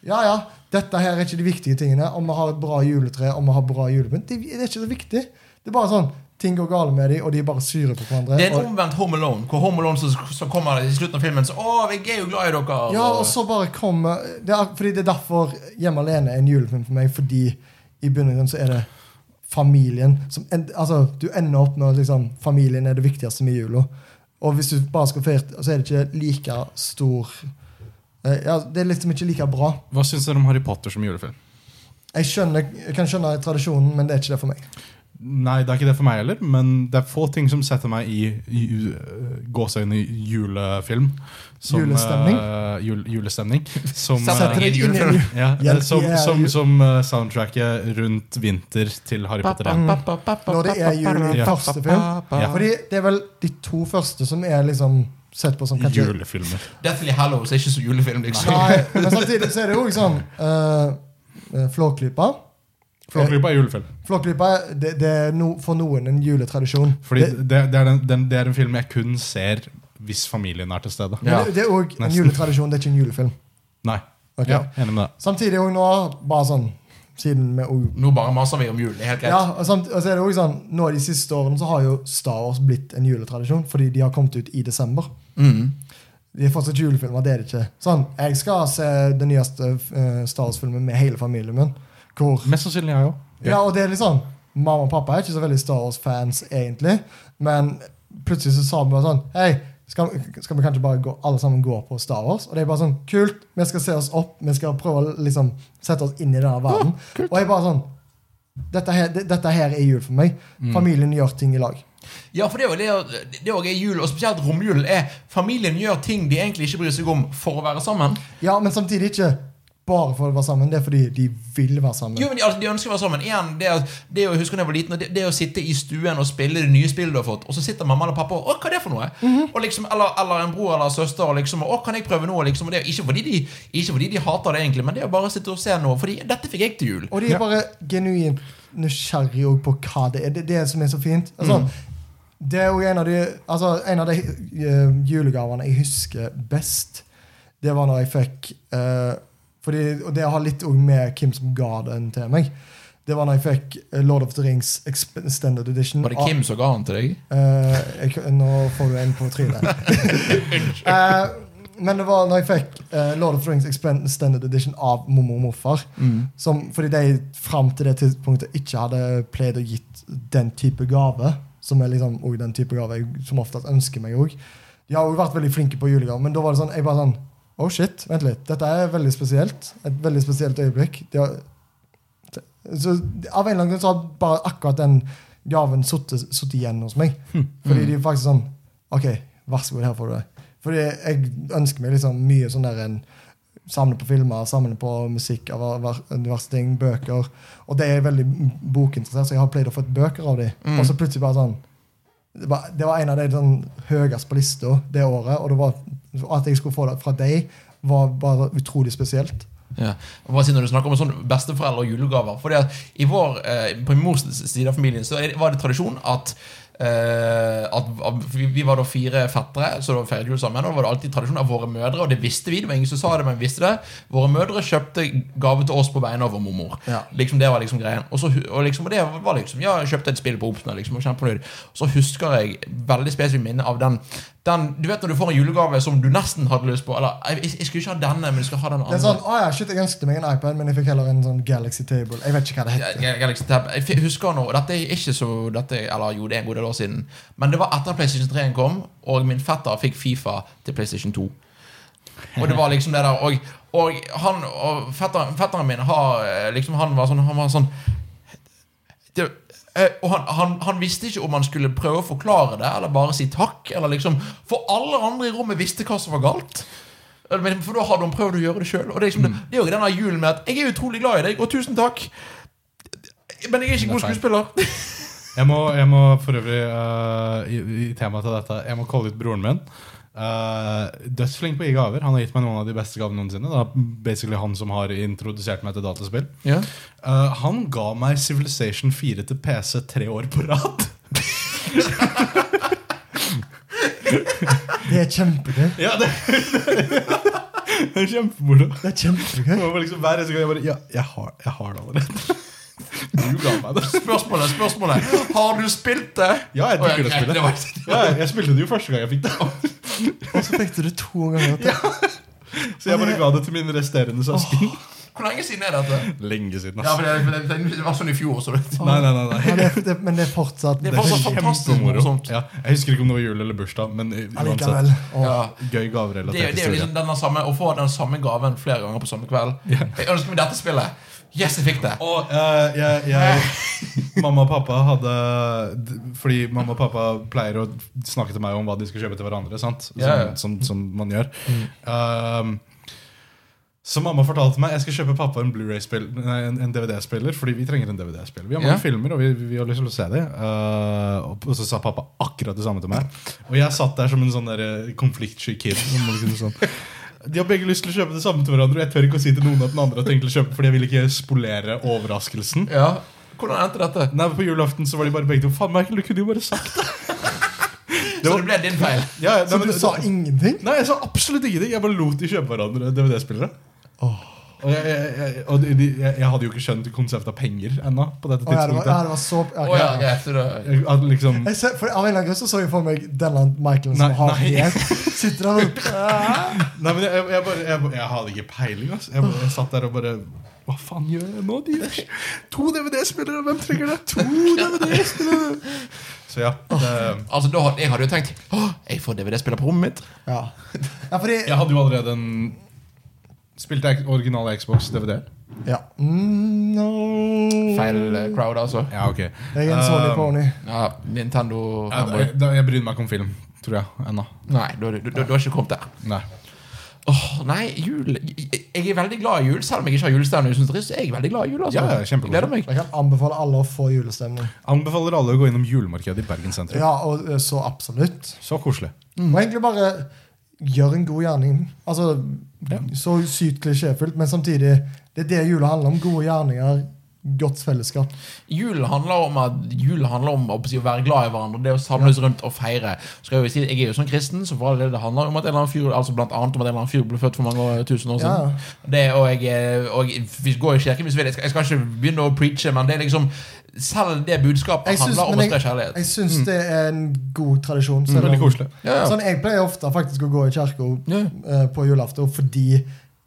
[SPEAKER 3] Ja, ja, dette her er ikke de viktige tingene. Om vi har et bra juletre, om vi har bra julepynt. Det, det er ikke så viktig. Det er bare sånn Ting går galt med dem, og de er bare syre på hverandre.
[SPEAKER 1] Det er en
[SPEAKER 3] og,
[SPEAKER 1] omvendt Home Alone, hvor Home Alone så, så kommer det i slutten av filmen så, Å, jeg er jo glad i dere.
[SPEAKER 3] ja, og så bare kommer det er, Fordi det er derfor Hjemme alene er en julefilm for meg, fordi i bunn og grunn så er det familien som en, Altså, du ender opp med at liksom, familien er det viktigste med jula. Og hvis du bare skal feire, så er det ikke like stor eh, Ja, det er liksom ikke like bra.
[SPEAKER 2] Hva syns dere om Harry Potter som julefilm?
[SPEAKER 3] Jeg, skjønner, jeg kan skjønne tradisjonen, men det er ikke det for meg.
[SPEAKER 2] Nei, det er ikke det for meg heller, men det er få ting som setter meg i, i øh, gåseøyne julefilm. Som,
[SPEAKER 3] Julestemning?
[SPEAKER 2] øh, jul, julestemning. Som,
[SPEAKER 1] Setter
[SPEAKER 2] øh,
[SPEAKER 1] deg inn i
[SPEAKER 3] en jul.
[SPEAKER 2] ja,
[SPEAKER 3] Hjelp,
[SPEAKER 2] som,
[SPEAKER 3] jeg er
[SPEAKER 2] som,
[SPEAKER 3] jul-
[SPEAKER 2] som øh, soundtracket rundt vinter til Harry Potter.
[SPEAKER 1] Pappa,
[SPEAKER 2] Ja.
[SPEAKER 1] pappa, pappa,
[SPEAKER 3] Når det er jul i
[SPEAKER 2] Ja.
[SPEAKER 3] første film.
[SPEAKER 2] Ja.
[SPEAKER 3] Fordi det er vel de to første som er liksom sett på som kanskje
[SPEAKER 2] Julefilmer.
[SPEAKER 1] Deathly Hallows er ikke så julefilm, liksom.
[SPEAKER 3] Nei, men samtidig så er det jo ikke sånn eh, eh, Flåklypa.
[SPEAKER 2] Flåklypa er julefilm.
[SPEAKER 3] Flåklypa det, det er no, for noen en juletradisjon.
[SPEAKER 2] Fordi
[SPEAKER 3] det,
[SPEAKER 2] det, det, er den, den, det er en film jeg kun ser hvis familien er til stede.
[SPEAKER 1] Ja.
[SPEAKER 3] men det, det er òg en
[SPEAKER 2] Nesten.
[SPEAKER 3] juletradisjon, det er ikke en julefilm.
[SPEAKER 2] Nei.
[SPEAKER 3] Ok.
[SPEAKER 2] Ja, enig med det.
[SPEAKER 3] Samtidig òg nå, bare sånn siden vi òg
[SPEAKER 1] Nå bare maser vi om jul. Det er helt greit.
[SPEAKER 3] ja, og, samt, og så er det også sånn, Nå de siste årene så har jo Star Wars blitt en juletradisjon, fordi de har kommet ut i desember.
[SPEAKER 1] Mm.
[SPEAKER 3] De er fortsatt julefilmer, det er det ikke. Sånn, Jeg skal se den nyeste eh, Star Wars-filmen med hele familien min. Hvor
[SPEAKER 2] Mest sannsynlig jeg òg.
[SPEAKER 3] Ja, og det er litt sånn Mamma og pappa er ikke så veldig Star Wars-fans, egentlig. Men plutselig så sa vi bare sånn Hei, skal, skal vi kanskje bare gå, alle sammen gå på Star Wars? Og det er bare sånn Kult! Vi skal se oss opp. Vi skal prøve å liksom sette oss inn i denne verden. og jeg bare sånn dette her, det- dette her er jul for meg. Familien gjør ting i lag.
[SPEAKER 1] Ja, for det er jo det, er- det er jo jul, og spesielt romjulen, er familien gjør ting de egentlig ikke bryr seg om for å være sammen.
[SPEAKER 3] Ja, men samtidig ikke bare for å være sammen. Det er fordi de vil være sammen.
[SPEAKER 1] Jo, men de, altså, de ønsker å være sammen. Igjen, det, er- det er jo, jeg husker da jeg var liten, og det, det er å sitte i stuen og spille det nye spillet du har fått, og så sitter mamma eller pappa og 'Å, hva er det for noe?' og liksom, eller, eller en bror eller søster og liksom 'Å, kan jeg prøve noe?' Liksom, og det er jo ikke fordi, de, ikke fordi de hater det, egentlig, men det er jo bare å sitte og se noe. Fordi 'dette fikk jeg til jul'.
[SPEAKER 3] Og de er
[SPEAKER 2] Ja.
[SPEAKER 3] bare genuint nysgjerrige også på hva det er. Det er det som er så fint. Altså,
[SPEAKER 1] Mm.
[SPEAKER 3] Det er jo en av de, altså, en av de eh, julegavene jeg husker best. Det var når jeg fikk eh, fordi, Og det har litt også med hvem som ga den til meg. Det var når jeg fikk eh, Lord of the Rings Extended Edition.
[SPEAKER 1] Var det Kim som ga den til deg?
[SPEAKER 3] Eh, jeg, nå får du en på trynet. Eh, men det var når jeg fikk eh, Lord of the Rings Extended Edition av mormor og morfar. Som, fordi de fram til det tidspunktet ikke hadde pleid å gitt den type gave. Som er liksom også den type gave jeg som oftest ønsker meg òg. De har jo vært veldig flinke på julegaver, men da var det sånn, jeg bare sånn Oh shit, vent litt. Dette er veldig spesielt. Et veldig spesielt øyeblikk. De har, så av en eller annen grunn så har bare akkurat den gaven sittet sittet igjen hos meg. Fordi de er faktisk sånn OK, vær så god, her får du det. Fordi jeg ønsker meg liksom mye sånn der en Samle på filmer, samle på musikk av hver- hver- diverse ting, bøker. Og det er jeg veldig bokinteressert, så jeg har pleid å få bøker av dem. Og så plutselig bare sånn det var, det var en av de sånn, høyest på lista det året, og det var, at jeg skulle få det fra deg, var bare utrolig spesielt.
[SPEAKER 1] Ja. Og Bare si når du snakker om sånn besteforeldre og julegaver Fordi at i vår, eh, På min mors side av familien Så er det- var det tradisjon at eh, at at vi, vi var da fire fettere, så da feiret jul sammen. Og da var det alltid tradisjon av våre mødre, og det visste vi. Det var ingen som sa det, men vi visste det. Våre mødre kjøpte gave til oss på vegne av vår mormor.
[SPEAKER 3] Ja.
[SPEAKER 1] Liksom Det var liksom greien. Og, så, hu- og, liksom, og det var liksom Ja, jeg kjøpte et spill på Obsen, liksom, og kjempenøyd. Så husker jeg veldig spesifikt minne av den, den Du vet når du får en julegave som du nesten hadde lyst på Eller jeg, jeg skulle ikke ha denne, men du skal ha den
[SPEAKER 3] Det
[SPEAKER 1] andre.
[SPEAKER 3] er sånn, å ja, shit, Jeg ønsket meg en iPad, men jeg fikk heller en sånn Galaxy Table. Jeg vet ikke hva det
[SPEAKER 1] Ja,
[SPEAKER 3] heter.
[SPEAKER 1] Gal- Galaxy Tab Jeg fi- husker nå Dette er ikke så dette, Eller jo, det er en god del år siden Men det var etter Playstation 3 -en kom Og min fetter fikk FIFA til Playstation 2 Og det var liksom det der Og, og han og fetter, Fetteren min har eh, Liksom han var sånn Han var sånn det, Eh, og han, han, han visste ikke om han skulle prøve å forklare det, eller bare si takk. Eller liksom, for alle andre i rommet visste hva som var galt. Eh, Men, for da hadde han prøvd å gjøre det sjøl. Og det er, liksom,
[SPEAKER 2] Mm.
[SPEAKER 1] det, det er jo denne julen med at 'jeg er utrolig glad i deg, og tusen takk', men jeg er ikke god
[SPEAKER 2] feil.
[SPEAKER 1] skuespiller.
[SPEAKER 2] Jeg må, jeg må for øvrig, eh, i, i temaet til dette, jeg må kalle ut broren min. Eh, dødsflink på å gi gaver. Han har gitt meg noen av de beste gavene noensinne. Det er basically han som har introdusert meg til dataspill.
[SPEAKER 1] Ja.
[SPEAKER 2] Eh, han ga meg Civilization 4 til PC tre år på rad.
[SPEAKER 3] Det er kjempegøy.
[SPEAKER 2] ja, det, det er kjempemoro.
[SPEAKER 3] Det er kjempegøy.
[SPEAKER 2] Det var bare liksom Hver eneste gang jeg bare Ja, jeg har, jeg har det allerede. Du ga meg det.
[SPEAKER 1] Spørsmålet, spørsmålet. Har du spilt det?
[SPEAKER 2] Ja, jeg digger
[SPEAKER 1] Å,
[SPEAKER 2] det spillet.
[SPEAKER 1] greit, det
[SPEAKER 2] Ja, jeg spilte det jo første gang jeg fikk det.
[SPEAKER 3] Og så fikk du det to ganger. til.
[SPEAKER 2] Så jeg bare ga det til mine resterende søsken.
[SPEAKER 1] var- Hvor lenge siden er dette?
[SPEAKER 2] Lenge siden,
[SPEAKER 1] Ja,
[SPEAKER 2] ass.
[SPEAKER 1] for det, for det, det var sånn i fjor. Så det.
[SPEAKER 2] Nei, nei, nei, nei.
[SPEAKER 3] Ja, det er, det, men det er fortsatt
[SPEAKER 1] Det er fortsatt fantastisk
[SPEAKER 2] Kjempemoro.
[SPEAKER 1] morsomt.
[SPEAKER 2] Ja, jeg husker ikke om det var jul eller bursdag, men u-
[SPEAKER 3] allikevel.
[SPEAKER 2] uansett.
[SPEAKER 3] Åh.
[SPEAKER 1] Ja.
[SPEAKER 2] Gøy
[SPEAKER 1] Det, er-
[SPEAKER 2] gaverelatert
[SPEAKER 1] det er jo
[SPEAKER 2] historie.
[SPEAKER 1] liksom denne samme, Å få den samme gaven flere ganger på samme kveld. Jeg ønsker meg dette spillet. Yes, jeg fikk det.
[SPEAKER 2] Og eh, jeg, jeg Mamma og pappa hadde d- Fordi mamma og pappa pleier å snakke til meg om hva de skal kjøpe til hverandre. Sant? Som,
[SPEAKER 1] Ja, Mm. ja.
[SPEAKER 2] som, som man gjør. Um, så mamma fortalte meg jeg skal kjøpe pappa en Blu-ray-spill Nei, en, en DVD-spiller. Fordi vi trenger en DVD-spiller. Vi har mange
[SPEAKER 1] Ja.
[SPEAKER 2] filmer, og vi, vi har lyst til å se dem. Uh, og så sa pappa akkurat det samme til meg. Og jeg satt der som en sånn der, eh, konfliktsky kid. som liksom Sånn. De har begge lyst til å kjøpe det samme til hverandre, og jeg tør ikke å si til noen at den andre har tenkt å kjøpe, fordi jeg vil ikke spolere overraskelsen.
[SPEAKER 1] Ja. Hvordan endte dette?
[SPEAKER 2] Nei, men På julaften så var de bare begge to Faen, Michael, du kunne jo bare sagt det!
[SPEAKER 1] Så det ble din feil.
[SPEAKER 2] Ja, ja,
[SPEAKER 3] Så
[SPEAKER 2] nei,
[SPEAKER 3] du
[SPEAKER 2] men-
[SPEAKER 3] sa ingenting?
[SPEAKER 2] Nei, jeg sa absolutt ingenting. Jeg bare lot de kjøpe hverandre DVD-spillere. Og, jeg, jeg, jeg, og de, de- jeg, jeg hadde jo ikke skjønt konseptet av penger ennå. På dette
[SPEAKER 3] Å, ja, det var, ja,
[SPEAKER 2] tidspunktet
[SPEAKER 3] det var så ja,
[SPEAKER 1] Å
[SPEAKER 3] ok,
[SPEAKER 1] ja,
[SPEAKER 3] ja.
[SPEAKER 1] greit. Så det,
[SPEAKER 2] Jeg- at liksom,
[SPEAKER 3] Jeg ser, for Av en eller annen grunn så så jeg for meg denne Michael som
[SPEAKER 2] Nei,
[SPEAKER 3] har
[SPEAKER 2] nei.
[SPEAKER 3] det. Sitter der og
[SPEAKER 2] Nei, men jeg, jeg, jeg, bare, jeg, jeg hadde ikke peiling. ass. Jeg, bare- jeg satt der og bare Hva faen gjør jeg nå? De gjør to DVD-spillere! Hvem trenger det? To DVD-spillere! Så ja. Det,
[SPEAKER 1] altså, da, hadde- jeg hadde jo tenkt Åh, jeg får DVD-spiller på rommet mitt.
[SPEAKER 3] Ja, ja fordi
[SPEAKER 2] jeg hadde jo allerede en Spilte jeg originale Xbox-DVD?
[SPEAKER 3] Ja. Mm, no.
[SPEAKER 1] Feil eh, crowd, altså.
[SPEAKER 2] Ja, ok.
[SPEAKER 3] Jeg er en Sony
[SPEAKER 2] Um,
[SPEAKER 3] Pony.
[SPEAKER 1] Ja, Nintendo
[SPEAKER 2] ja, da-
[SPEAKER 1] Fanboy.
[SPEAKER 2] da- Jeg bryr meg ikke om film, tror jeg. Ennå.
[SPEAKER 1] Nei, du, du, du, du har ikke kommet der.
[SPEAKER 2] Nei.
[SPEAKER 1] Åh, nei, jul Jeg jeg er veldig glad i jul, selv om jeg ikke har julestemning. Jeg, jeg er jeg veldig glad i jul, altså.
[SPEAKER 2] Ja, ja, kjempegod.
[SPEAKER 1] Gleder meg.
[SPEAKER 3] Jeg kan anbefale alle å få julestemning.
[SPEAKER 2] Anbefaler alle å gå innom julemarkedet i Bergen sentrum.
[SPEAKER 3] Ja, og eh, så absolutt.
[SPEAKER 2] Så koselig.
[SPEAKER 1] Mm.
[SPEAKER 3] Og egentlig bare gjør en god gjerning. Altså, Så sykt klisjéfullt, men samtidig Det er det jula handler om. Gode gjerninger, godt fellesskap.
[SPEAKER 1] Julen handler om, at, julen handler om å, si, å være glad i hverandre, det å samles rundt og feire. Skal jeg, jo si, jeg er jo sånn kristen, så for all del det handler om at en eller annen fyr Altså blant annet om at en eller annen fyr ble født for mange tusen år
[SPEAKER 3] Ja.
[SPEAKER 1] siden. Det, og jeg, eh, og jeg vi går i kirken hvis vi vil. Jeg skal, jeg skal ikke begynne å preache, men det er liksom Selv det budskapet
[SPEAKER 3] Jeg syns,
[SPEAKER 1] handler om å
[SPEAKER 3] men
[SPEAKER 1] spre
[SPEAKER 3] jeg,
[SPEAKER 1] kjærlighet. Mm.
[SPEAKER 3] jeg syns det er en god tradisjon. selv
[SPEAKER 2] Mm. Veldig
[SPEAKER 3] om-
[SPEAKER 2] koselig.
[SPEAKER 1] Ja, ja.
[SPEAKER 3] Sånn, Jeg pleier ofte faktisk å gå i kirka
[SPEAKER 1] Ja.
[SPEAKER 3] eh, på julaften fordi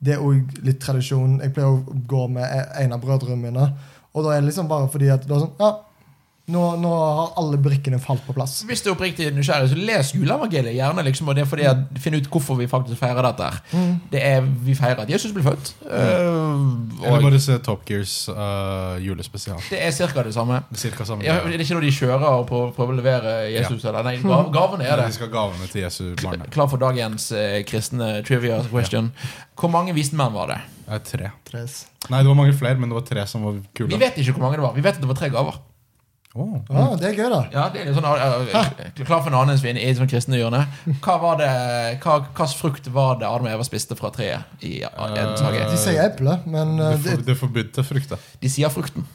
[SPEAKER 3] det er òg litt tradisjon. Jeg pleier å gå med eh, en av brødrene mine, og da er det liksom bare fordi at da er det sånn, ja, nå, nå har alle brikkene falt på plass.
[SPEAKER 1] Hvis du er oppriktig nysgjerrig, så les juleevangeliet gjerne. liksom, og det er fordi at Finn ut hvorfor vi faktisk feirer dette. her.
[SPEAKER 3] Mm.
[SPEAKER 1] Det er, Vi feirer at Jesus ble født. øh,
[SPEAKER 2] Eller
[SPEAKER 1] Eh, og
[SPEAKER 2] bare se Top Gears eh, julespesial.
[SPEAKER 1] det er ca. det samme.
[SPEAKER 2] Cirka samme
[SPEAKER 1] Ja, det er ikke når de kjører og prøver prøver å levere Jesus. eller nei, ga- Gavene er
[SPEAKER 2] De
[SPEAKER 1] det.
[SPEAKER 2] skal ha gavene til Jesu barn.
[SPEAKER 1] Klar for dagens eh, kristne trivia question. Hvor mange vismenn var det?
[SPEAKER 2] Det er tre.
[SPEAKER 3] Tres.
[SPEAKER 2] Nei, det var mange flere, men det var tre som var
[SPEAKER 1] Vi
[SPEAKER 2] kule.
[SPEAKER 1] vet ikke hvor mange det var. Vi vet at det var tre gaver.
[SPEAKER 2] Åh.
[SPEAKER 3] Ja, det er gøy, da.
[SPEAKER 1] Ja, det er litt sånn, eh, eh, klar for en annen svin i det sånn kristne hjørne. Hva var det, hva, hvilken frukt var det Adam og Eva spiste fra treet i Edens hage?
[SPEAKER 3] De sier eple, men eh,
[SPEAKER 2] Det,
[SPEAKER 3] det,
[SPEAKER 2] for, det forbudte frukter.
[SPEAKER 1] De sier frukten.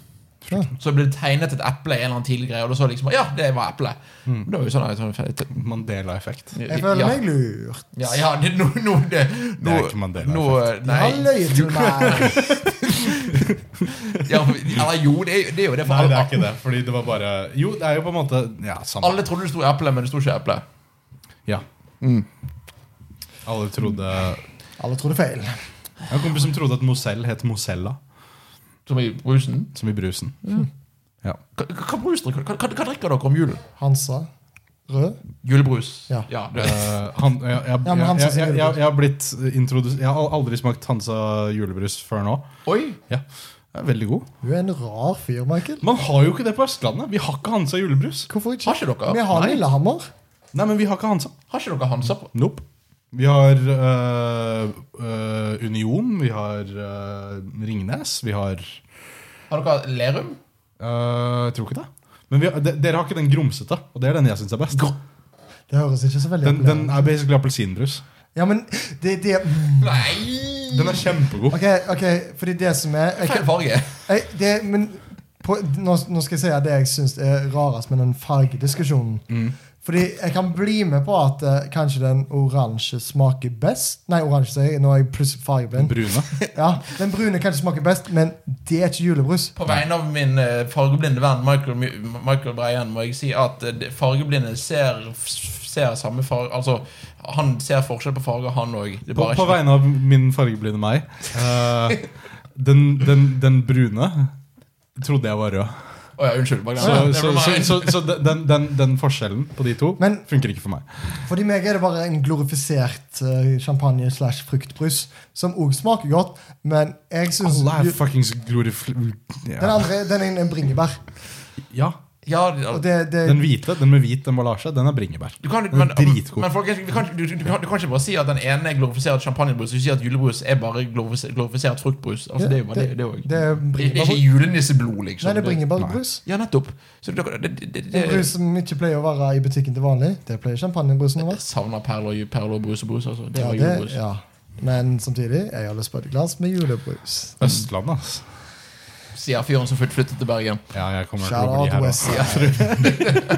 [SPEAKER 1] Så ble det tegnet et eple i en eller annen tidlig greie, og da så liksom Ja, det var eple. Men Det var jo sånn, sånn
[SPEAKER 2] Mandela-effekt.
[SPEAKER 3] jeg føler
[SPEAKER 1] ja.
[SPEAKER 3] meg lurt.
[SPEAKER 1] Ja, ja det, nå, nå, det, nå,
[SPEAKER 2] Det er ikke Mandela-effekt.
[SPEAKER 1] Nå,
[SPEAKER 3] De
[SPEAKER 1] nei.
[SPEAKER 3] har løyet til meg.
[SPEAKER 1] Ja, for- eller jo, det er, jo- det er jo det. For
[SPEAKER 2] Nei, det
[SPEAKER 1] alle,
[SPEAKER 2] er ikke det. Fordi det var bare Jo, det er jo på en måte Ja, samme.
[SPEAKER 1] alle trodde det sto eple, men det sto ikke eple.
[SPEAKER 2] Ja.
[SPEAKER 1] Mm.
[SPEAKER 2] Alle trodde Jeg
[SPEAKER 3] Alle trodde feil.
[SPEAKER 2] har en kompis som trodde at Mosell het Mosella,
[SPEAKER 1] Som i brusen.
[SPEAKER 2] som i brusen. Ja.
[SPEAKER 1] Hva, hva, brus drikker, hva, hva hva drikker dere om julen?
[SPEAKER 3] Hansa. Rød.
[SPEAKER 1] Julebrus.
[SPEAKER 3] Ja.
[SPEAKER 1] det,
[SPEAKER 2] Eh, han, jeg, jeg,
[SPEAKER 3] Ja, men
[SPEAKER 2] jeg,
[SPEAKER 3] Hansa
[SPEAKER 2] jeg,
[SPEAKER 3] sin
[SPEAKER 2] jeg,
[SPEAKER 3] julebrus.
[SPEAKER 2] jeg har blitt introdus- Jeg har al- aldri smakt Hansa julebrus før nå.
[SPEAKER 1] oi!
[SPEAKER 2] Ja. Det er veldig god.
[SPEAKER 3] Du er en rar fyr, Michael.
[SPEAKER 2] Man har jo ikke det på Østlandet. Vi har ikke Hansa julebrus.
[SPEAKER 3] Hvorfor ikke?
[SPEAKER 1] Har ikke dere?
[SPEAKER 3] Vi har
[SPEAKER 2] Nei.
[SPEAKER 3] Lillehammer.
[SPEAKER 2] Nei, men vi har ikke Hansa.
[SPEAKER 1] Har ikke dere Hansa på?
[SPEAKER 2] Nope. Vi har øh, øh, Union, vi har øh, Ringnes, vi har
[SPEAKER 1] Har dere Lerum?
[SPEAKER 2] øh, Jeg tror ikke det. Men vi har, de, dere har ikke den grumsete, og det er den jeg syns er best.
[SPEAKER 3] Det høres ikke så veldig
[SPEAKER 2] Den, den
[SPEAKER 3] opplevende
[SPEAKER 2] er basically appelsinbrus.
[SPEAKER 3] Ja, men det, det mm.
[SPEAKER 1] Nei!
[SPEAKER 2] Den er kjempegod.
[SPEAKER 3] Ok, ok, fordi det som er jeg,
[SPEAKER 1] Feil farge.
[SPEAKER 3] jeg, det, men på, nå, nå skal jeg si at det jeg syns er rarest med den fargediskusjonen.
[SPEAKER 1] Mm.
[SPEAKER 3] Fordi jeg kan bli med på at eh, kanskje den oransje smaker best. Nei, oransje sier jeg. Nå er jeg plutselig fargeblind.
[SPEAKER 2] Brune.
[SPEAKER 3] Ja, den brune kanskje smaker best, men det er ikke julebrus.
[SPEAKER 1] På vegne av min eh, fargeblinde venn Michael, My- Michael Breien må jeg si at eh, det- fargeblinde ser, ser samme farge Altså, han ser forskjell på farger, han òg.
[SPEAKER 2] På, på vegne av min fargeblinde meg. øh, den, den, den brune trodde jeg var rød.
[SPEAKER 1] Å ja, unnskyld. Bare
[SPEAKER 2] Så,
[SPEAKER 1] glem det.
[SPEAKER 2] så,
[SPEAKER 1] Never
[SPEAKER 2] så,
[SPEAKER 1] mind.
[SPEAKER 2] så, så den, den, den forskjellen på de to
[SPEAKER 3] Men-
[SPEAKER 2] funker ikke for meg.
[SPEAKER 3] Fordi meg er det bare en glorifisert eh, champagne slash fruktbrus, som òg smaker godt, men jeg syns
[SPEAKER 2] Alle er
[SPEAKER 3] Den
[SPEAKER 2] fuckings glorifl... Ja.
[SPEAKER 3] andre den er en bringebær.
[SPEAKER 2] ja.
[SPEAKER 1] Ja, ja.
[SPEAKER 3] Og det, det,
[SPEAKER 2] Den hvite, den med hvit emballasje, den er bringebær.
[SPEAKER 1] Du kan,
[SPEAKER 2] Den
[SPEAKER 1] men,
[SPEAKER 2] er dritgod.
[SPEAKER 1] men folkens, vi kan, ikke- du, du, du, kan, du kan ikke bare si at den ene er glorifisert champagnebrus, og si at julebrus er bare glorifisert, glorifisert fruktbrus. Altså, det er jo bare det, det òg.
[SPEAKER 3] det
[SPEAKER 1] Det
[SPEAKER 3] er
[SPEAKER 1] er
[SPEAKER 3] bringebær.
[SPEAKER 1] ikke julenisseblod, liksom.
[SPEAKER 3] Nei, det er bringebærbrus.
[SPEAKER 1] Ja, nettopp. Så det, det, det, det,
[SPEAKER 3] En brus som ikke pleier å være i butikken til vanlig. Det pleier champagnebrusen å
[SPEAKER 1] Jeg
[SPEAKER 3] være.
[SPEAKER 1] savner perler, perler og brus og brus. Altså. Det
[SPEAKER 3] Ja,
[SPEAKER 1] var
[SPEAKER 3] det,
[SPEAKER 1] julebrus.
[SPEAKER 3] ja. Men samtidig, jeg har lyst på et glass med julebrus.
[SPEAKER 2] Østlandet, ass.
[SPEAKER 1] Sier fyren som flytt- flyttet til Bergen.
[SPEAKER 2] Ja, jeg kommer til
[SPEAKER 3] Shout
[SPEAKER 2] å bli
[SPEAKER 3] out
[SPEAKER 2] her
[SPEAKER 3] West.
[SPEAKER 2] også.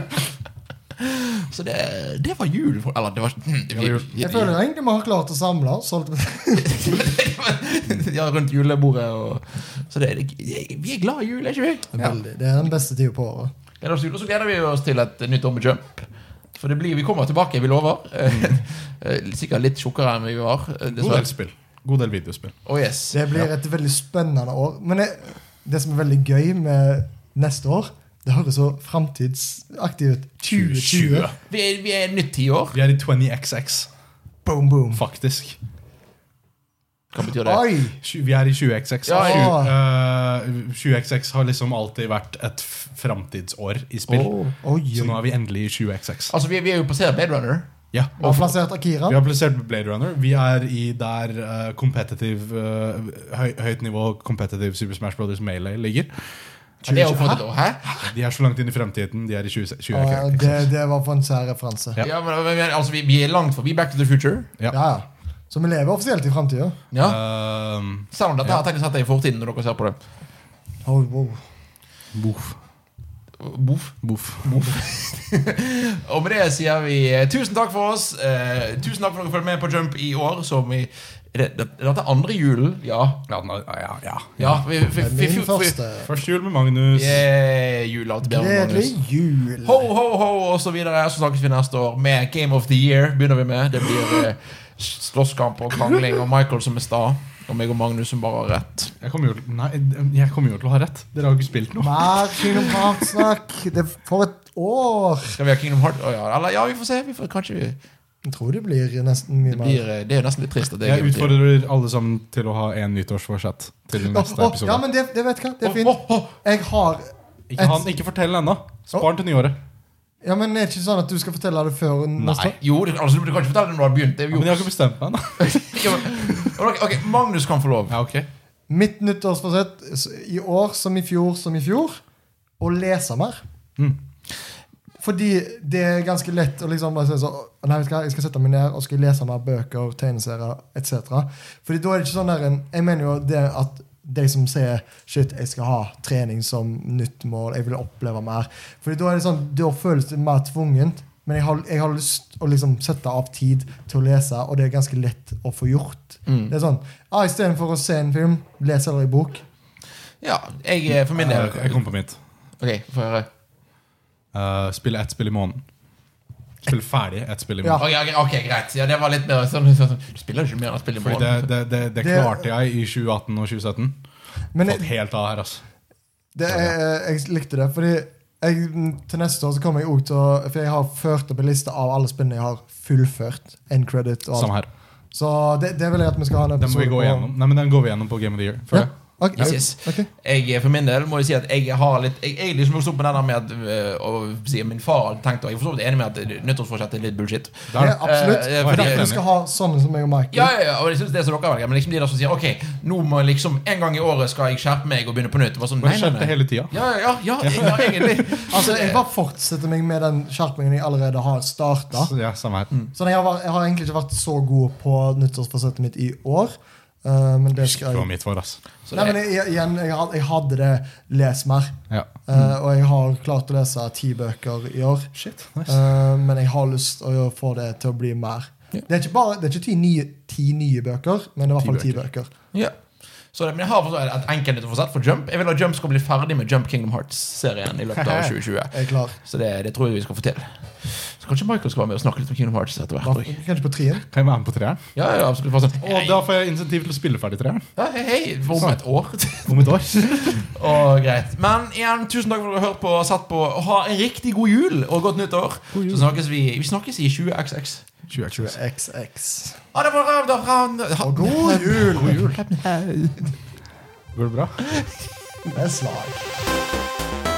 [SPEAKER 1] Så det, det var jul. for- Eller, det var hm,
[SPEAKER 3] Jeg føler egentlig vi har klart å samle oss. holdt-
[SPEAKER 1] Ja, rundt julebordet og Så det, det, vi er glad i jul, er ikke vi?
[SPEAKER 3] Veldig. Det er den beste tida på året.
[SPEAKER 1] Gleder oss til jul, og så gleder vi oss til et nytt år med jump. For det blir, vi kommer tilbake, vi lover. Eh, Sikkert litt tjukkere enn vi var. eh,
[SPEAKER 2] God
[SPEAKER 1] Dessverre.
[SPEAKER 2] del spill. God del videospill.
[SPEAKER 1] Oh, yes.
[SPEAKER 3] Det blir et veldig spennende år. Men det, det som er veldig gøy med neste år, det høres så framtidsaktig ut. 2020.
[SPEAKER 1] Vi er, vi er et nytt tiår.
[SPEAKER 2] Vi er i 20XX,
[SPEAKER 3] Boom, boom.
[SPEAKER 2] faktisk.
[SPEAKER 1] Hva betyr det?
[SPEAKER 3] Oi!
[SPEAKER 2] Tju- Vi er i 20XX.
[SPEAKER 1] Ja,
[SPEAKER 2] Tju-
[SPEAKER 3] ja.
[SPEAKER 2] eh, 20XX har liksom alltid vært et f- framtidsår i spill.
[SPEAKER 1] Åh.
[SPEAKER 3] Oi,
[SPEAKER 2] Så nå
[SPEAKER 3] oi.
[SPEAKER 2] er vi endelig i 20XX.
[SPEAKER 1] Altså, vi, vi er jo passert Blade Runner.
[SPEAKER 2] Ja.
[SPEAKER 3] Vi har plassert Akira.
[SPEAKER 2] Vi har plassert Blade Runner. Vi er i der eh, competitive eh, høy, høyt nivå competitive Super Smash Brothers Melee ligger.
[SPEAKER 1] Ja, det er jo fått et år. Hæ?
[SPEAKER 2] De er så langt inn i fremtiden. De er i 20, 20
[SPEAKER 3] Å, ja, det, det var for en sær referanse.
[SPEAKER 2] Ja.
[SPEAKER 1] Ja, men, men, men altså, vi, vi er langt forbi Back to the Future.
[SPEAKER 2] Ja.
[SPEAKER 3] Ja, ja. Så vi lever offisielt i framtida.
[SPEAKER 1] Ja.
[SPEAKER 2] Ehm,
[SPEAKER 1] Selv om dette her teknisk sett er i fortiden, når dere ser på det.
[SPEAKER 3] Oh, wow.
[SPEAKER 2] Boff.
[SPEAKER 1] Boff.
[SPEAKER 2] Boff.
[SPEAKER 1] Og med det sier vi eh, tusen takk for oss. Eh, tusen takk for at dere følger med på Jump i år. Som vi, er det, det, dette er andre julen, ja.
[SPEAKER 2] Ja, nei, ja, ja.
[SPEAKER 1] ja vi, vi,
[SPEAKER 3] Det er
[SPEAKER 1] vi,
[SPEAKER 3] min
[SPEAKER 1] vi, vi,
[SPEAKER 3] første.
[SPEAKER 2] Første jul med Magnus.
[SPEAKER 1] Yeah, jula til Bjørn
[SPEAKER 3] Gledelig
[SPEAKER 1] Magnus.
[SPEAKER 3] jul.
[SPEAKER 1] Ho, ho, ho, og så videre. Så snakkes vi neste år med Game of the Year. Begynner vi med Det blir eh, slåsskamp og krangling og Michael som er sta. Og meg og Magnus som bare har rett.
[SPEAKER 2] Jeg kommer jo, nei, jeg kommer jo til å ha rett. Dere har jo ikke spilt noe.
[SPEAKER 3] Mer Kingdom Hearts-snakk. Det er for et år.
[SPEAKER 1] Skal vi ha Kingdom Heart? Å ja. Eller ja, vi får se. Vi får, kanskje vi,
[SPEAKER 3] Jeg tror det blir nesten mye
[SPEAKER 1] det,
[SPEAKER 3] mer.
[SPEAKER 1] blir, eh, det er jo nesten litt trist. At det er
[SPEAKER 2] Jeg
[SPEAKER 1] Game of the Year.
[SPEAKER 2] utfordrer alle sammen til å ha en nyttårsforsett til neste
[SPEAKER 3] Å, å,
[SPEAKER 2] episode.
[SPEAKER 3] Ja, men det, det vet jeg hva. Det er fint.
[SPEAKER 1] Å, å, å.
[SPEAKER 3] Jeg har
[SPEAKER 2] Ikke, han, ikke fortell den ennå. Spar den til nyåret.
[SPEAKER 3] Ja, men er det ikke sånn at du skal fortelle det før neste
[SPEAKER 2] Nei.
[SPEAKER 3] år?
[SPEAKER 1] Jo, det, altså, du kan ikke fortelle det når du har begynt. Det er
[SPEAKER 2] Men
[SPEAKER 1] jo
[SPEAKER 2] jeg har ikke bestemt meg ennå.
[SPEAKER 1] Ja, men- ok, ok, Magnus kan få lov.
[SPEAKER 2] Ja, ok.
[SPEAKER 3] Mitt nyttårsforsett s- i år som i fjor som i fjor å lese mer. Fordi det er ganske lett å liksom bare si sånn «Å, Nei, vet du hva, jeg skal sette meg ned og skal lese mer bøker, tegneserier etc. Fordi da er det ikke sånn der en Jeg mener jo det at de som sier shit, jeg skal ha trening som nytt mål, jeg vil oppleve mer Fordi da er det sånn, da føles det mer tvungent. Men jeg har, jeg har lyst å liksom sette av tid til å lese, og det er ganske lett å få gjort. Det er sånn, ah, Istedenfor å se en film, les eller en bok.
[SPEAKER 1] Ja, jeg eh, for min del.
[SPEAKER 2] Jeg kom på mitt.
[SPEAKER 1] Ok, få høre.
[SPEAKER 2] Eh, spille ett spill i måneden. Spille ferdig ett spill i
[SPEAKER 3] Ja.
[SPEAKER 2] måneden.
[SPEAKER 1] Ok, ok, greit. Ja, det var litt mer sånn, sånn, sånn. Du spiller jo ikke mer enn spill i
[SPEAKER 2] Fordi
[SPEAKER 1] morgen.
[SPEAKER 2] det, det, det, det
[SPEAKER 3] Det-
[SPEAKER 2] klarte jeg i 2018 og 2017.
[SPEAKER 3] Men
[SPEAKER 2] Fått
[SPEAKER 3] jeg,
[SPEAKER 2] helt av her, altså.
[SPEAKER 3] det er, jeg likte det, fordi jeg, til neste år så kommer jeg også til å For jeg har ført opp en liste av alle spillene jeg har fullført. End credit og
[SPEAKER 2] Samme her.
[SPEAKER 3] alt. Så det, det vil jeg at vi skal ha en
[SPEAKER 2] Den må
[SPEAKER 3] episode
[SPEAKER 2] vi gå
[SPEAKER 3] på.
[SPEAKER 2] igjennom. Nei, men den går vi igjennom på Game of the Year.
[SPEAKER 3] Ja,
[SPEAKER 2] føler jeg.
[SPEAKER 3] Ok,
[SPEAKER 1] Yes, yes.
[SPEAKER 3] ok.
[SPEAKER 1] Jeg eh, for min del må jo si at jeg har litt Jeg, jeg er liksom vokst opp med den der med at øh, og, si, Min far har tenkt, og jeg er for så vidt enig med at nyttårsforsett er litt bullshit.
[SPEAKER 2] Det er
[SPEAKER 3] Ja,
[SPEAKER 2] det.
[SPEAKER 3] absolutt.
[SPEAKER 1] Eh, eh,
[SPEAKER 3] For
[SPEAKER 1] fordi-
[SPEAKER 3] derfor skal ha sånne som meg og Michael.
[SPEAKER 1] Ja, ja, ja, og jeg synes det er så dere velger Men liksom de der som sier Ok, nå må jeg liksom En gang i året skal jeg skjerpe meg og begynne på nytt. Det var sånn,
[SPEAKER 2] Bare
[SPEAKER 1] nei, nei,
[SPEAKER 2] skjerp
[SPEAKER 1] nei.
[SPEAKER 2] deg hele tida.
[SPEAKER 1] Ja, ja, ja, ja, ja egentlig.
[SPEAKER 3] Altså, Jeg bare fortsetter meg med den skjerpingen jeg allerede har starta.
[SPEAKER 2] Ja, samme her.
[SPEAKER 3] Sånn, jeg, har- jeg har egentlig ikke vært så god på nyttårsforsettet mitt i år. eh, men det
[SPEAKER 2] Husker
[SPEAKER 3] skal
[SPEAKER 2] ikke hva
[SPEAKER 3] jeg
[SPEAKER 2] mitt var, ass.
[SPEAKER 1] Så
[SPEAKER 3] Nei, men
[SPEAKER 1] det,
[SPEAKER 3] jeg, jeg- igjen, jeg, had- jeg hadde det. Les mer.
[SPEAKER 2] Ja.
[SPEAKER 3] Eh,
[SPEAKER 2] Mm.
[SPEAKER 3] og jeg har klart å lese ti bøker i år.
[SPEAKER 2] Shit, nice.
[SPEAKER 3] Eh, men jeg har lyst til å få det til å bli mer.
[SPEAKER 1] Ja.
[SPEAKER 3] Det er ikke bare, det er ikke ti nye, ti nye bøker, men det er i hvert fall ti bøker.
[SPEAKER 1] ja. så det, men jeg har forstått et enkelt nyttårsforsett for Jump. Jeg vil at Jump skal bli ferdig med Jump Kingdom Hearts-serien i løpet av 2020.
[SPEAKER 3] Jeg er klar.
[SPEAKER 1] Så det, det tror jeg vi skal få til. Så kanskje Michael skal være med og snakke litt om Kingdom Hearts etter hvert. også.
[SPEAKER 3] Kanskje på trien.
[SPEAKER 2] Kan jeg være med på treeren?
[SPEAKER 1] Ja, ja, absolutt. Bare sånn
[SPEAKER 2] Og da får jeg insentiv til å spille ferdig treeren.
[SPEAKER 1] Ja, hei, hei, om et år.
[SPEAKER 2] Om et år.
[SPEAKER 1] Og greit. Men igjen, tusen takk for at dere har hørt på og sett på. Og ha en riktig god jul og godt nytt år. Så snakkes vi Vi snakkes i 20XX.
[SPEAKER 2] 20
[SPEAKER 3] XX.
[SPEAKER 1] Ha det bra! da, fra- ha-
[SPEAKER 3] Og god jul!
[SPEAKER 2] Går det bra?
[SPEAKER 3] Med slag.